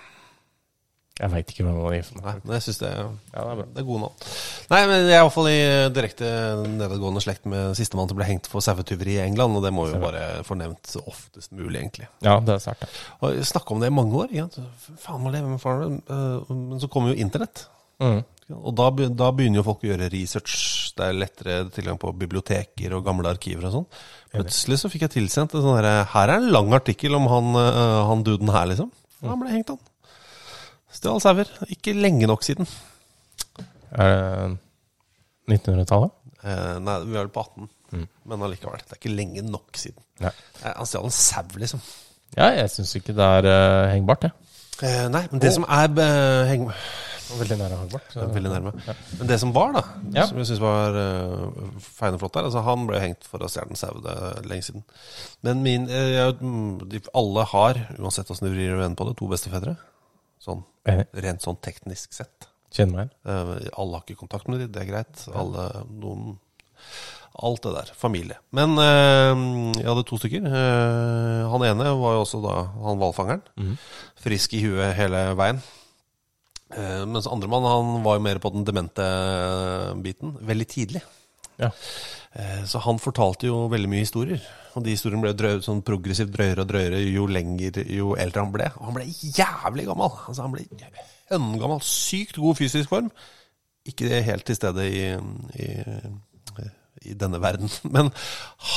[SPEAKER 3] Jeg veit ikke hvem han var gift med.
[SPEAKER 2] Nei, men jeg synes det,
[SPEAKER 3] Ja, det er bra.
[SPEAKER 2] det er gode navn. Nei, men jeg er iallfall i eh, direkte nedadgående slekt med sistemann som ble hengt for sauetyveri i England, og det må jo bare få nevnt så oftest mulig, egentlig.
[SPEAKER 3] Ja, det er sært. ja.
[SPEAKER 2] Og Snakka om det i mange år. Ikke sant? Faen, hva lever med faren min? Eh, Men så kommer jo internett.
[SPEAKER 3] Mm.
[SPEAKER 2] Og da, be- da begynner jo folk å gjøre research. Det er lettere tilgang på biblioteker og gamle arkiver og sånn. Plutselig så fikk jeg tilsendt en sånn herre Her er en lang artikkel om han, eh, han duden her, liksom. Ja, Han ble hengt, han. Stjal sauer. Ikke lenge nok siden.
[SPEAKER 3] Er det 1900-tallet?
[SPEAKER 2] Eh, nei, vi er vel på 18. Men allikevel. Det er ikke lenge nok siden.
[SPEAKER 3] Nei.
[SPEAKER 2] Eh, Mm. Han stjal en sau, liksom.
[SPEAKER 3] Ja, jeg syns ikke det er eh, hengbart, jeg.
[SPEAKER 2] Eh, nei, men det som er eh, heng...
[SPEAKER 3] Veldig nære hengbart.
[SPEAKER 2] Det er Veldig nærme. Men det som var, da,
[SPEAKER 3] Ja.
[SPEAKER 2] som jeg syns var uh, feiende flott der altså Han ble hengt for å stjele en sau det er lenge siden. Men min eh, jeg, mm, de, Alle har, uansett åssen du vrir og vender på det, to bestefedre. Sånn,
[SPEAKER 3] Enig.
[SPEAKER 2] rent sånn teknisk sett.
[SPEAKER 3] Kjenner meg igjen.
[SPEAKER 2] Eh, alle har ikke kontakt med dem, det er greit. Alle, noen Alt det der. Familie. Men eh, jeg hadde to stykker. Eh, han ene var jo også da han hvalfangeren. Frisk i huet hele veien. Eh, mens andremann han var jo mer på den demente biten. Veldig tidlig.
[SPEAKER 3] Ja.
[SPEAKER 2] Eh, Så han fortalte jo veldig mye historier. Og de historiene ble drøy, sånn progressivt drøyere og drøyere jo lenger, jo eldre han ble. Og han ble jævlig gammel! Altså, han ble høngammal. Sykt god fysisk form. Ikke helt til stede i, i, i denne verden. Men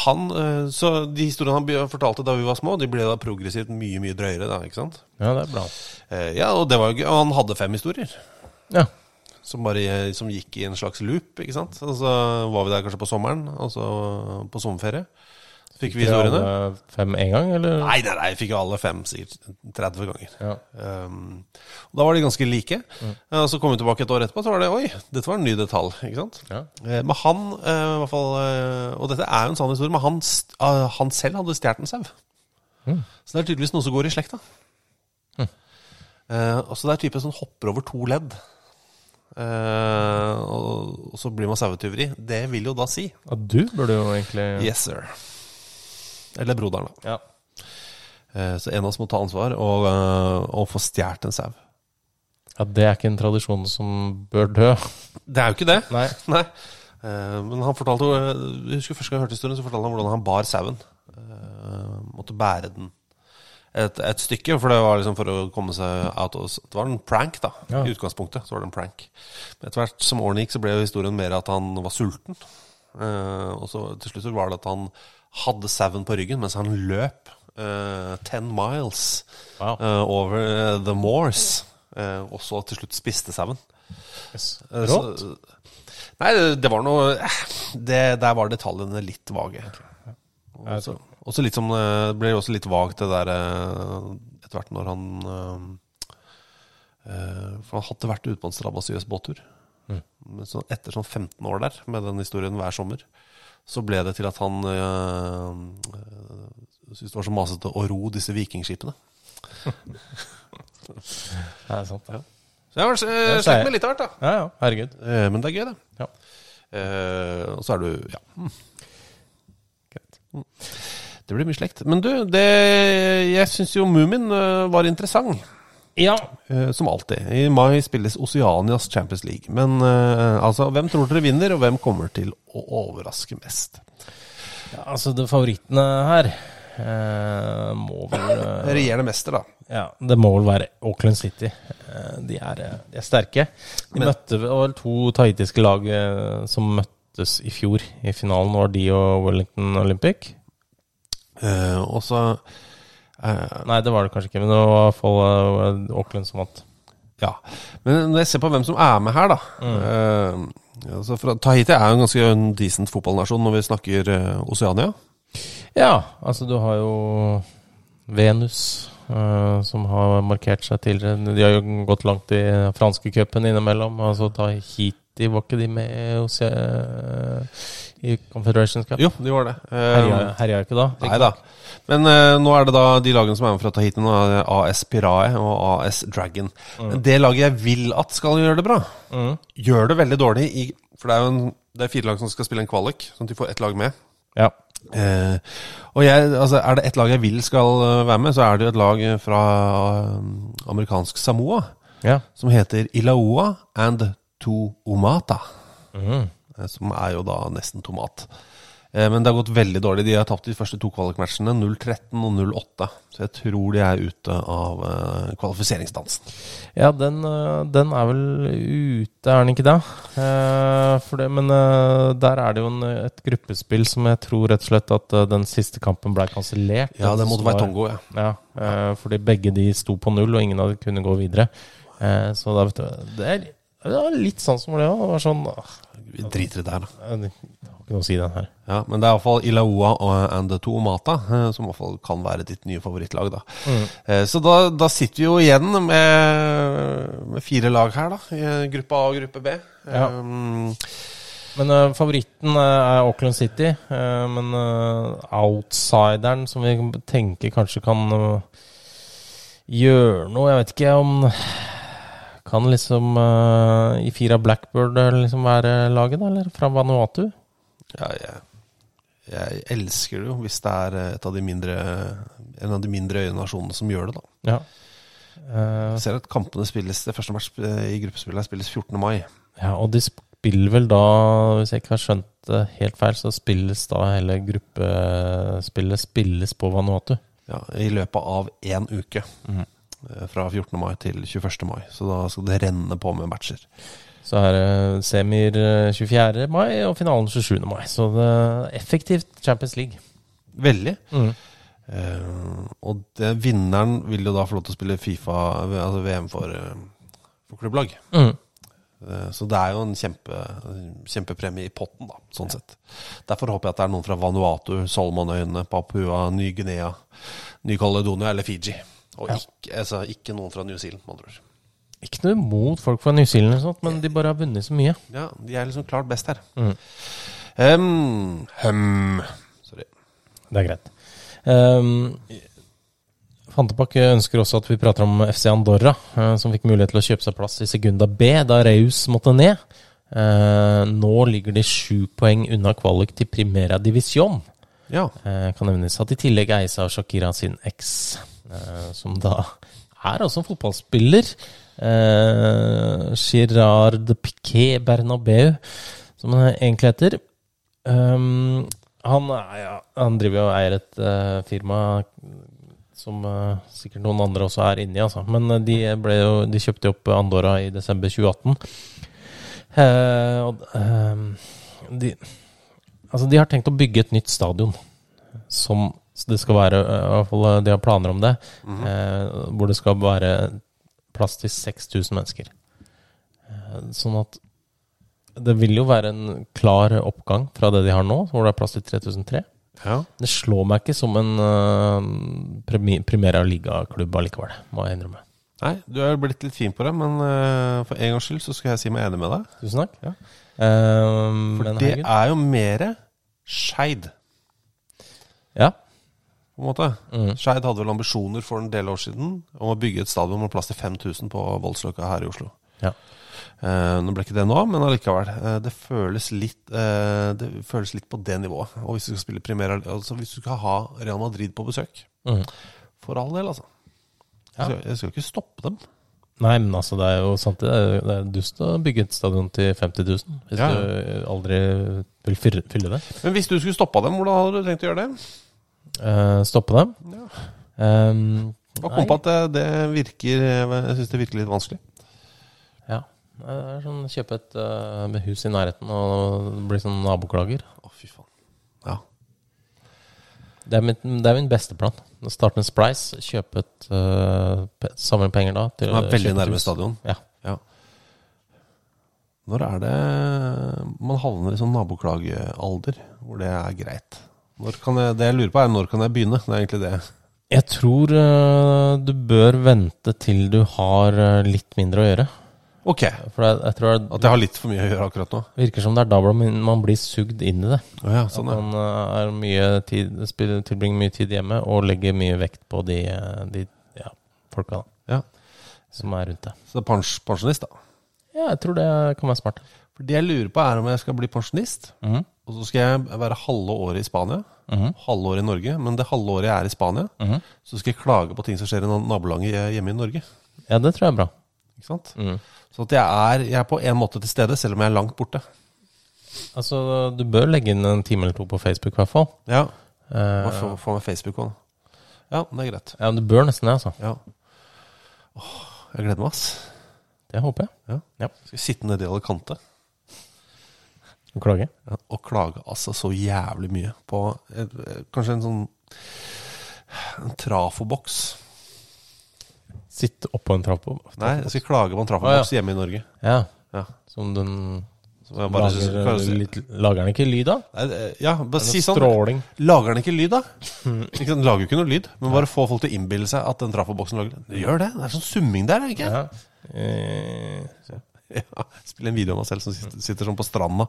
[SPEAKER 2] han eh, Så de historiene han be- fortalte da vi var små, de ble da progressivt mye, mye drøyere, da, ikke sant?
[SPEAKER 3] ja, det er bra.
[SPEAKER 2] Eh, Ja, og det var jo gøy. Og han hadde fem historier
[SPEAKER 3] Ja.
[SPEAKER 2] som, bare, som gikk i en slags loop. ikke sant? Og så var vi der kanskje på sommeren, altså på sommerferie. Fikk vi historiene?
[SPEAKER 3] alle fem en gang, eller?
[SPEAKER 2] Nei, nei, nei, jeg fikk jo alle fem sikkert 30 ganger. Um, og da var de ganske like. Eh, Og så kom vi tilbake et år etterpå, så var det oi, dette var en ny detalj. ikke sant? Eh, Men han, eh, i hvert fall, eh, og dette er jo en sann historie, men han, st- ah, han selv hadde stjålet en sau.
[SPEAKER 3] Mm.
[SPEAKER 2] Så det er tydeligvis noe som går i slekta. Mm. Eh, og så det er typen som hopper over to ledd. Eh, og, og så blir man sauetyveri. Det vil jo da si
[SPEAKER 3] Ja, du burde jo egentlig
[SPEAKER 2] Yes, sir. Eller broderen, da.
[SPEAKER 3] Ja.
[SPEAKER 2] Eh, Så en av oss må ta ansvar og, eh, og få stjålet en sau.
[SPEAKER 3] Ja, det er ikke en tradisjon som bør dø.
[SPEAKER 2] Det er jo ikke det.
[SPEAKER 3] Nei.
[SPEAKER 2] Eh, Men han fortalte jo eh, Jeg husker første gang jeg hørte historien, så fortalte han hvordan han bar sauen. Eh, Måtte bære den et, et stykke, for det var liksom for å komme seg out of Det var en prank, da.
[SPEAKER 3] Ja.
[SPEAKER 2] I utgangspunktet så var det en prank. Men etter hvert som årene gikk, så ble jo historien mer at han var sulten. Eh, Og så til slutt så var det at han hadde sauen på ryggen mens han løp eh, 10 miles eh, over eh, the moors. eh, og så til slutt spiste sauen. Eh, så- Nei, det- det var noe eh, det, Der var detaljene litt vage. Også, også litt som eh, Det ble også litt vagt det der eh, etter hvert når han eh, eh, For han hadde vært ute på en strabasiøs båttur.
[SPEAKER 3] Mm.
[SPEAKER 2] Men så etter sånn 15 år der med den historien hver sommer, så ble det til at han øh, syntes det var så masete å ro disse vikingskipene.
[SPEAKER 3] Det er sant, ja.
[SPEAKER 2] Så jeg har
[SPEAKER 3] Det
[SPEAKER 2] øh,
[SPEAKER 3] er
[SPEAKER 2] slitt
[SPEAKER 3] seier.
[SPEAKER 2] med litt av hvert, da.
[SPEAKER 3] Ja, ja, herregud.
[SPEAKER 2] Eh, Men det er gøy, det.
[SPEAKER 3] Ja.
[SPEAKER 2] Eh, og så er du Ja. Mm. Det blir mye slekt. Men du, det, jeg syns jo Moomin øh, var interessant.
[SPEAKER 3] Ja.
[SPEAKER 2] Eh, Som alltid. I mai spilles Oceanias Champions League. Men eh, altså, hvem tror dere vinner, og hvem kommer til å overraske mest?
[SPEAKER 3] Ja, altså, de favorittene her eh, må vel eh,
[SPEAKER 2] Regjerende mester, da.
[SPEAKER 3] Ja, det må vel være Auckland City. Eh, De er, eh, de er sterke. De
[SPEAKER 2] Men-
[SPEAKER 3] møtte vel to tahitiske lag eh, som møttes i fjor i finalen, var de og Wellington Olympic.
[SPEAKER 2] Eh, og så eh,
[SPEAKER 3] Nei, det var det kanskje ikke, men det var i hvert fall eh, Auckland som vant.
[SPEAKER 2] Ja. Men når jeg ser på hvem som er med her, da eh, altså fra, Tahiti er jo en ganske decent fotballnasjon når vi snakker eh, Oceania.
[SPEAKER 3] Ja, altså du har jo Venus, eh, som har markert seg tidligere. De har jo gått langt i franske cupen innimellom. Altså Tahiti, var ikke de med hos, eh, i Confederations Cup?
[SPEAKER 2] Jo, de var det. Eh,
[SPEAKER 3] Herja herja ikke da?
[SPEAKER 2] Nei da. Men eh, nå er det da de lagene som er med fra Tahiti, nå er det AS Pirae og AS Dragon. Men Det laget jeg vil at skal gjøre det bra, gjør det veldig dårlig. I, for det er jo en, det er fire lag som skal spille en kvalik, sånn at de får ett lag med.
[SPEAKER 3] Ja.
[SPEAKER 2] Eh, og jeg, altså, er det ett lag jeg vil skal eh, være med, så er det jo et lag eh, fra eh, amerikansk Samoa
[SPEAKER 3] ja.
[SPEAKER 2] som heter Ilaoa and Tuomata. Eh, Som er jo da nesten tomat. Eh, Men det har gått veldig dårlig. De har tapt de første to kvalikmatchene, 0-13 og 0-8. Så jeg tror de er ute av eh, kvalifiseringsdansen.
[SPEAKER 3] Ja, den, eh, den er vel ute, er den ikke det? Eh, For det men eh, der er det jo en, et gruppespill som jeg tror rett og slett at eh, den siste kampen ble kansellert.
[SPEAKER 2] Ja, det måtte
[SPEAKER 3] Som var-
[SPEAKER 2] være Tongo, ja.
[SPEAKER 3] Ja, eh, fordi begge de sto på null, og ingen av de kunne gå videre. Eh, Så da vet du Det er, det er litt sånn som det var. Det var sånn ah,
[SPEAKER 2] Vi driter i det her, da.
[SPEAKER 3] eh, Det har ikke noe å si, den her.
[SPEAKER 2] Ja, men det er iallfall Ilaoa og- and Tuomata eh, som i hvert fall kan være ditt nye favorittlag, da. Eh, Så da, da sitter vi jo igjen med, med fire lag her, da. i Gruppe A og gruppe B.
[SPEAKER 3] Ja.
[SPEAKER 2] Um,
[SPEAKER 3] Ehm, Men eh, favoritten eh, er Auckland City. eh, men eh, outsideren som vi tenker kanskje kan eh, gjøre noe Jeg vet ikke om Kan liksom uh, Ifira Blackbird eh, liksom være laget, da? Eller fra Vanuatu?
[SPEAKER 2] Ja, jeg, jeg elsker det jo hvis det er eh, et av de mindre, en av de mindre øynasjonene som gjør det. da.
[SPEAKER 3] Ja. Eh,
[SPEAKER 2] Jeg ser at kampene spilles, Det første match eh, i gruppespillet spilles 14. mai.
[SPEAKER 3] ja, og de spiller vel da, hvis jeg ikke har skjønt det helt feil, så spilles da hele gruppespillet spilles på Vanuatu.
[SPEAKER 2] Ja, I løpet av én uke. Eh, Fra 14. mai til 21. mai. Så da skal det renne på med matcher.
[SPEAKER 3] Så er det semier eh, 24. mai og finalen 27. mai. Så det er effektivt Champions League.
[SPEAKER 2] Veldig. Eh, og det,
[SPEAKER 3] Mm.
[SPEAKER 2] vinneren vil jo da få lov til å spille Fifa, altså VM for, eh, for klubblag. Eh, Så det er jo en kjempe, kjempepremie i potten, da, sånn sett. Derfor håper jeg at det er noen fra Vanuatu, Solomonøyene, Papua, Ny-Guinea, Ny-Caledonia eller Fiji. Og ikke, altså, ikke noen fra New Zealand, med andre ord.
[SPEAKER 3] Ikke noe imot folk fra New Zealand, og sånt, men de bare har vunnet så mye.
[SPEAKER 2] Ja, de er liksom klart best her.
[SPEAKER 3] Mm.
[SPEAKER 2] Um, hum. Sorry.
[SPEAKER 3] Det er greit. Um, Fantepakke ønsker også at vi prater om FC Andorra, eh, som fikk mulighet til å kjøpe seg plass i Segunda B da Reus måtte ned. Eh, nå ligger de sju poeng unna kvalik til Primera Divisjon.
[SPEAKER 2] Ja.
[SPEAKER 3] Eh, kan nevnes at i tillegg eies av Shakira sin eks, eh, som da er også en fotballspiller. Eh, Girard Piquet Bernabeu, som han egentlig heter. Um, han, er, ja, han driver jo og eier et eh, firma som eh, sikkert noen andre også er inni, altså. Men eh, de, ble jo, de kjøpte jo opp Andorra i desember 2018. Eh, og, eh, de, altså, de har tenkt å bygge et nytt stadion. Som så det skal være eh, i hvert fall eh, De har planer om det.
[SPEAKER 2] Mhm.
[SPEAKER 3] eh, hvor det skal være plass til 6000 mennesker. Eh, sånn at det vil jo være en klar oppgang fra det de har nå, hvor det er plass til 3003.
[SPEAKER 2] Ja.
[SPEAKER 3] Det slår meg ikke som en eh, premi- Primera Liga-klubb allikevel, må jeg innrømme.
[SPEAKER 2] Nei, du er blitt litt fin på det, men eh, for en gangs skyld så skal jeg si meg enig med deg.
[SPEAKER 3] Tusen takk.
[SPEAKER 2] Ja.
[SPEAKER 3] Ehm,
[SPEAKER 2] For
[SPEAKER 3] men
[SPEAKER 2] det
[SPEAKER 3] Haugen?
[SPEAKER 2] er jo mere Skeid,
[SPEAKER 3] Ja.
[SPEAKER 2] på en måte.
[SPEAKER 3] Mm.
[SPEAKER 2] Skeid hadde vel ambisjoner for en del år siden om å bygge et stadion med plass til 5000 på Voldsløkka her i Oslo.
[SPEAKER 3] Ja.
[SPEAKER 2] Eh, nå ble ikke det nå, men allikevel. eh, det, føles litt, eh, det føles litt på det nivået. Og hvis du skal spille primera, altså hvis du skal ha Real Madrid på besøk,
[SPEAKER 3] Mm.
[SPEAKER 2] for all del, altså. Jeg,
[SPEAKER 3] Ja.
[SPEAKER 2] skal, jeg skal ikke stoppe dem.
[SPEAKER 3] Nei, men altså, det er jo sant, det er, det er dust å bygge et stadion til 50 000 hvis
[SPEAKER 2] Ja.
[SPEAKER 3] du aldri vil fylle, fylle det.
[SPEAKER 2] Men hvis du skulle stoppa dem, hvordan hadde du tenkt å gjøre det?
[SPEAKER 3] Eh, stoppe dem.
[SPEAKER 2] Ja.
[SPEAKER 3] Ehm,
[SPEAKER 2] Jeg
[SPEAKER 3] nei.
[SPEAKER 2] kom på at det, det virker eh, Jeg syns det virker litt vanskelig.
[SPEAKER 3] Ja. Det er sånn, kjøpe et eh, med hus i nærheten og bli sånn naboklager.
[SPEAKER 2] Å, fy faen. Ja.
[SPEAKER 3] Det er, mitt, det er min beste plan. Å Starte med Splice, kjøpe et eh, pe- Samle inn penger da. Til,
[SPEAKER 2] Den er veldig
[SPEAKER 3] kjøpe et
[SPEAKER 2] nærme
[SPEAKER 3] hus.
[SPEAKER 2] stadion.
[SPEAKER 3] Ja.
[SPEAKER 2] Ja. Når er det man havner i sånn naboklagealder hvor det er greit? Når kan jeg, det jeg lurer på, er når kan jeg begynne? Det er egentlig det.
[SPEAKER 3] Jeg tror eh, du bør vente til du har eh, litt mindre å gjøre.
[SPEAKER 2] Ok.
[SPEAKER 3] For jeg, jeg tror
[SPEAKER 2] At jeg har litt for mye å gjøre akkurat nå.
[SPEAKER 3] virker som det er da hvor man man blir sugd inn i det.
[SPEAKER 2] Å ja, sånn ja.
[SPEAKER 3] At man eh, er mye tid, spiller, tilbringer mye tid hjemme og legger mye vekt på de, eh, de ja, folka da,
[SPEAKER 2] ja.
[SPEAKER 3] som er rundt deg.
[SPEAKER 2] Så det er pens pensjonist, da.
[SPEAKER 3] Ja, jeg tror det kan være smart.
[SPEAKER 2] For Det jeg lurer på, er om jeg skal bli pensjonist.
[SPEAKER 3] Mhm.
[SPEAKER 2] Og så skal jeg være halve året i Spania,
[SPEAKER 3] Mhm.
[SPEAKER 2] halve året i Norge. Men det halve året jeg er i Spania,
[SPEAKER 3] Mhm.
[SPEAKER 2] så skal jeg klage på ting som skjer i na- nabolaget hjemme i Norge.
[SPEAKER 3] Ja, det tror jeg er bra.
[SPEAKER 2] Ikke sant?
[SPEAKER 3] Mm.
[SPEAKER 2] Så at jeg er, jeg er på en måte til stede, selv om jeg er langt borte.
[SPEAKER 3] Altså, du bør legge inn en time eller to på Facebook, i hvert fall.
[SPEAKER 2] Ja,
[SPEAKER 3] Eh,
[SPEAKER 2] Bare få, få meg Facebook òg. Ja, men det er greit.
[SPEAKER 3] ja, men du bør nesten det, altså.
[SPEAKER 2] Ja. Åh, jeg gleder meg, ass.
[SPEAKER 3] Det håper jeg.
[SPEAKER 2] Ja.
[SPEAKER 3] Ja.
[SPEAKER 2] Skal sitte nedi Alicante
[SPEAKER 3] Du klager?
[SPEAKER 2] ja, og klage altså så jævlig mye på et, kanskje en sånn en trafoboks.
[SPEAKER 3] Sitte oppå en trapp og
[SPEAKER 2] Nei, jeg skal klage på en
[SPEAKER 3] Å,
[SPEAKER 2] trafoboks hjemme i Norge.
[SPEAKER 3] Ja.
[SPEAKER 2] Ja.
[SPEAKER 3] Som den
[SPEAKER 2] Så jeg bare,
[SPEAKER 3] lager,
[SPEAKER 2] kan jeg si-
[SPEAKER 3] litt, lager den ikke lyd, da?
[SPEAKER 2] Nei, det- ja, bare si sånn.
[SPEAKER 3] Stråling. Hmm.
[SPEAKER 2] Lager den ikke lyd, da? Ikke sant, den lager jo ikke noe lyd, men bare få folk til å innbille seg at den trafoboksen lager det. Det gjør det. Det er sånn summing der, er det ikke?
[SPEAKER 3] Ja. Eh,
[SPEAKER 2] Ja. Spille en video av meg selv som sitter, sitter sånn på stranda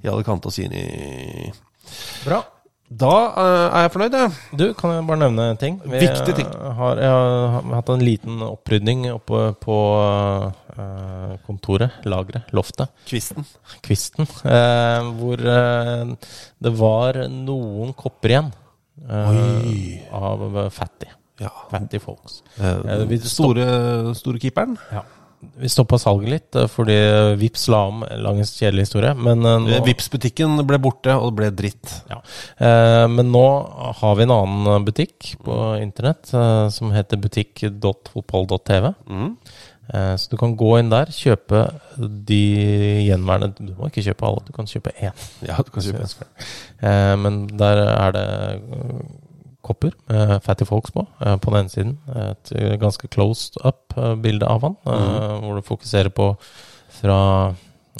[SPEAKER 2] i Alicante og sier i
[SPEAKER 3] bra.
[SPEAKER 2] Da eh, er jeg fornøyd, jeg.
[SPEAKER 3] Du, kan jeg bare nevne en ting? eh,
[SPEAKER 2] Viktig ting.
[SPEAKER 3] Har, jeg har hatt en liten opprydning oppe på eh, kontoret, lageret, loftet.
[SPEAKER 2] Kvisten.
[SPEAKER 3] kvisten, eh, hvor eh, det var noen kopper igjen eh,
[SPEAKER 2] Oi.
[SPEAKER 3] av eh, fatty.
[SPEAKER 2] Ja.
[SPEAKER 3] Fatty folks.
[SPEAKER 2] Eh,
[SPEAKER 3] vi
[SPEAKER 2] store, store keeperen.
[SPEAKER 3] Ja. Vi stoppa salget litt, eh, fordi Vips la om lang og kjedelig historie. Men, eh, nå,
[SPEAKER 2] Eh, Vipps-butikken ble borte, og det ble dritt.
[SPEAKER 3] ja. eh, men nå har vi en annen eh, butikk på internett eh, som heter butikk.fotball.tv.
[SPEAKER 2] Mhm.
[SPEAKER 3] Eh, Så du kan gå inn der, kjøpe de gjenværende Du må ikke kjøpe alle, du kan kjøpe én.
[SPEAKER 2] Ja, du kan kjøpe det.
[SPEAKER 3] Eh, Men der er det eh, kopper med Fatty Folks på, eh, på den ene
[SPEAKER 2] Mm.
[SPEAKER 3] siden. Et eh, ganske closed up-bilde av han, eh, hvor du fokuserer på fra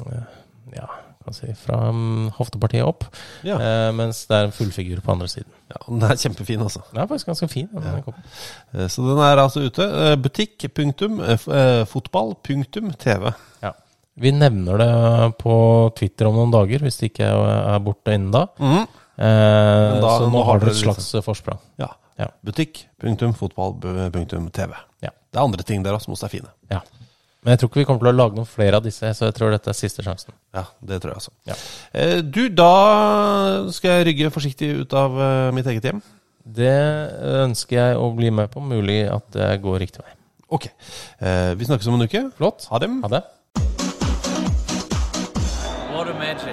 [SPEAKER 3] eh, ja, kan si fra mm, hoftepartiet opp.
[SPEAKER 2] Ja.
[SPEAKER 3] Eh, mens det er en fullfigur på andre siden.
[SPEAKER 2] Ja, Den er kjempefin, altså.
[SPEAKER 3] Den er faktisk ganske fin. Den koppen.
[SPEAKER 2] Eh, Så den er altså ute. Eh, Butikk, punktum, eh, f- eh, fotball, punktum, TV.
[SPEAKER 3] Ja. Vi nevner det på Twitter om noen dager, hvis det ikke er er borte innen da.
[SPEAKER 2] Mhm.
[SPEAKER 3] Eh,
[SPEAKER 2] Men da-
[SPEAKER 3] så nå,
[SPEAKER 2] nå har
[SPEAKER 3] har dere et
[SPEAKER 2] dere liksom.
[SPEAKER 3] slags forsprang.
[SPEAKER 2] Ja.
[SPEAKER 3] Ja.
[SPEAKER 2] Butikk, punktum, fotball, bu- punktum, TV.
[SPEAKER 3] Ja.
[SPEAKER 2] Det er andre ting der også, som også er fine.
[SPEAKER 3] Ja. Men jeg tror ikke vi kommer til å lage noen flere av disse, så jeg tror dette er siste sjansen.
[SPEAKER 2] Ja, det tror jeg altså.
[SPEAKER 3] Ja.
[SPEAKER 2] Eh, Du, da skal jeg rygge forsiktig ut av eh, mitt eget hjem.
[SPEAKER 3] Det ønsker jeg å bli med på. Mulig at det går riktig vei.
[SPEAKER 2] Ok. Eh, Vi snakkes om en uke.
[SPEAKER 3] Flott.
[SPEAKER 2] Ha dem.
[SPEAKER 3] Ha det.
[SPEAKER 8] What a magic.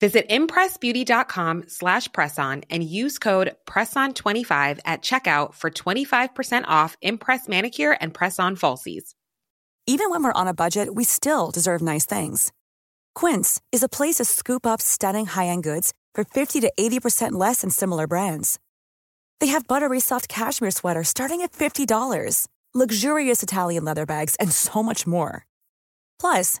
[SPEAKER 9] Visit impressbeauty.com slash presson and use code presson25 at checkout for 25% off Impress manicure and press-on falsies.
[SPEAKER 10] Even when we're on a budget, we still deserve nice things. Quince is a place to scoop up stunning high-end goods for 50 to 80% less than similar brands. They have buttery soft cashmere sweaters starting at $50, luxurious Italian leather bags, and so much more. Plus,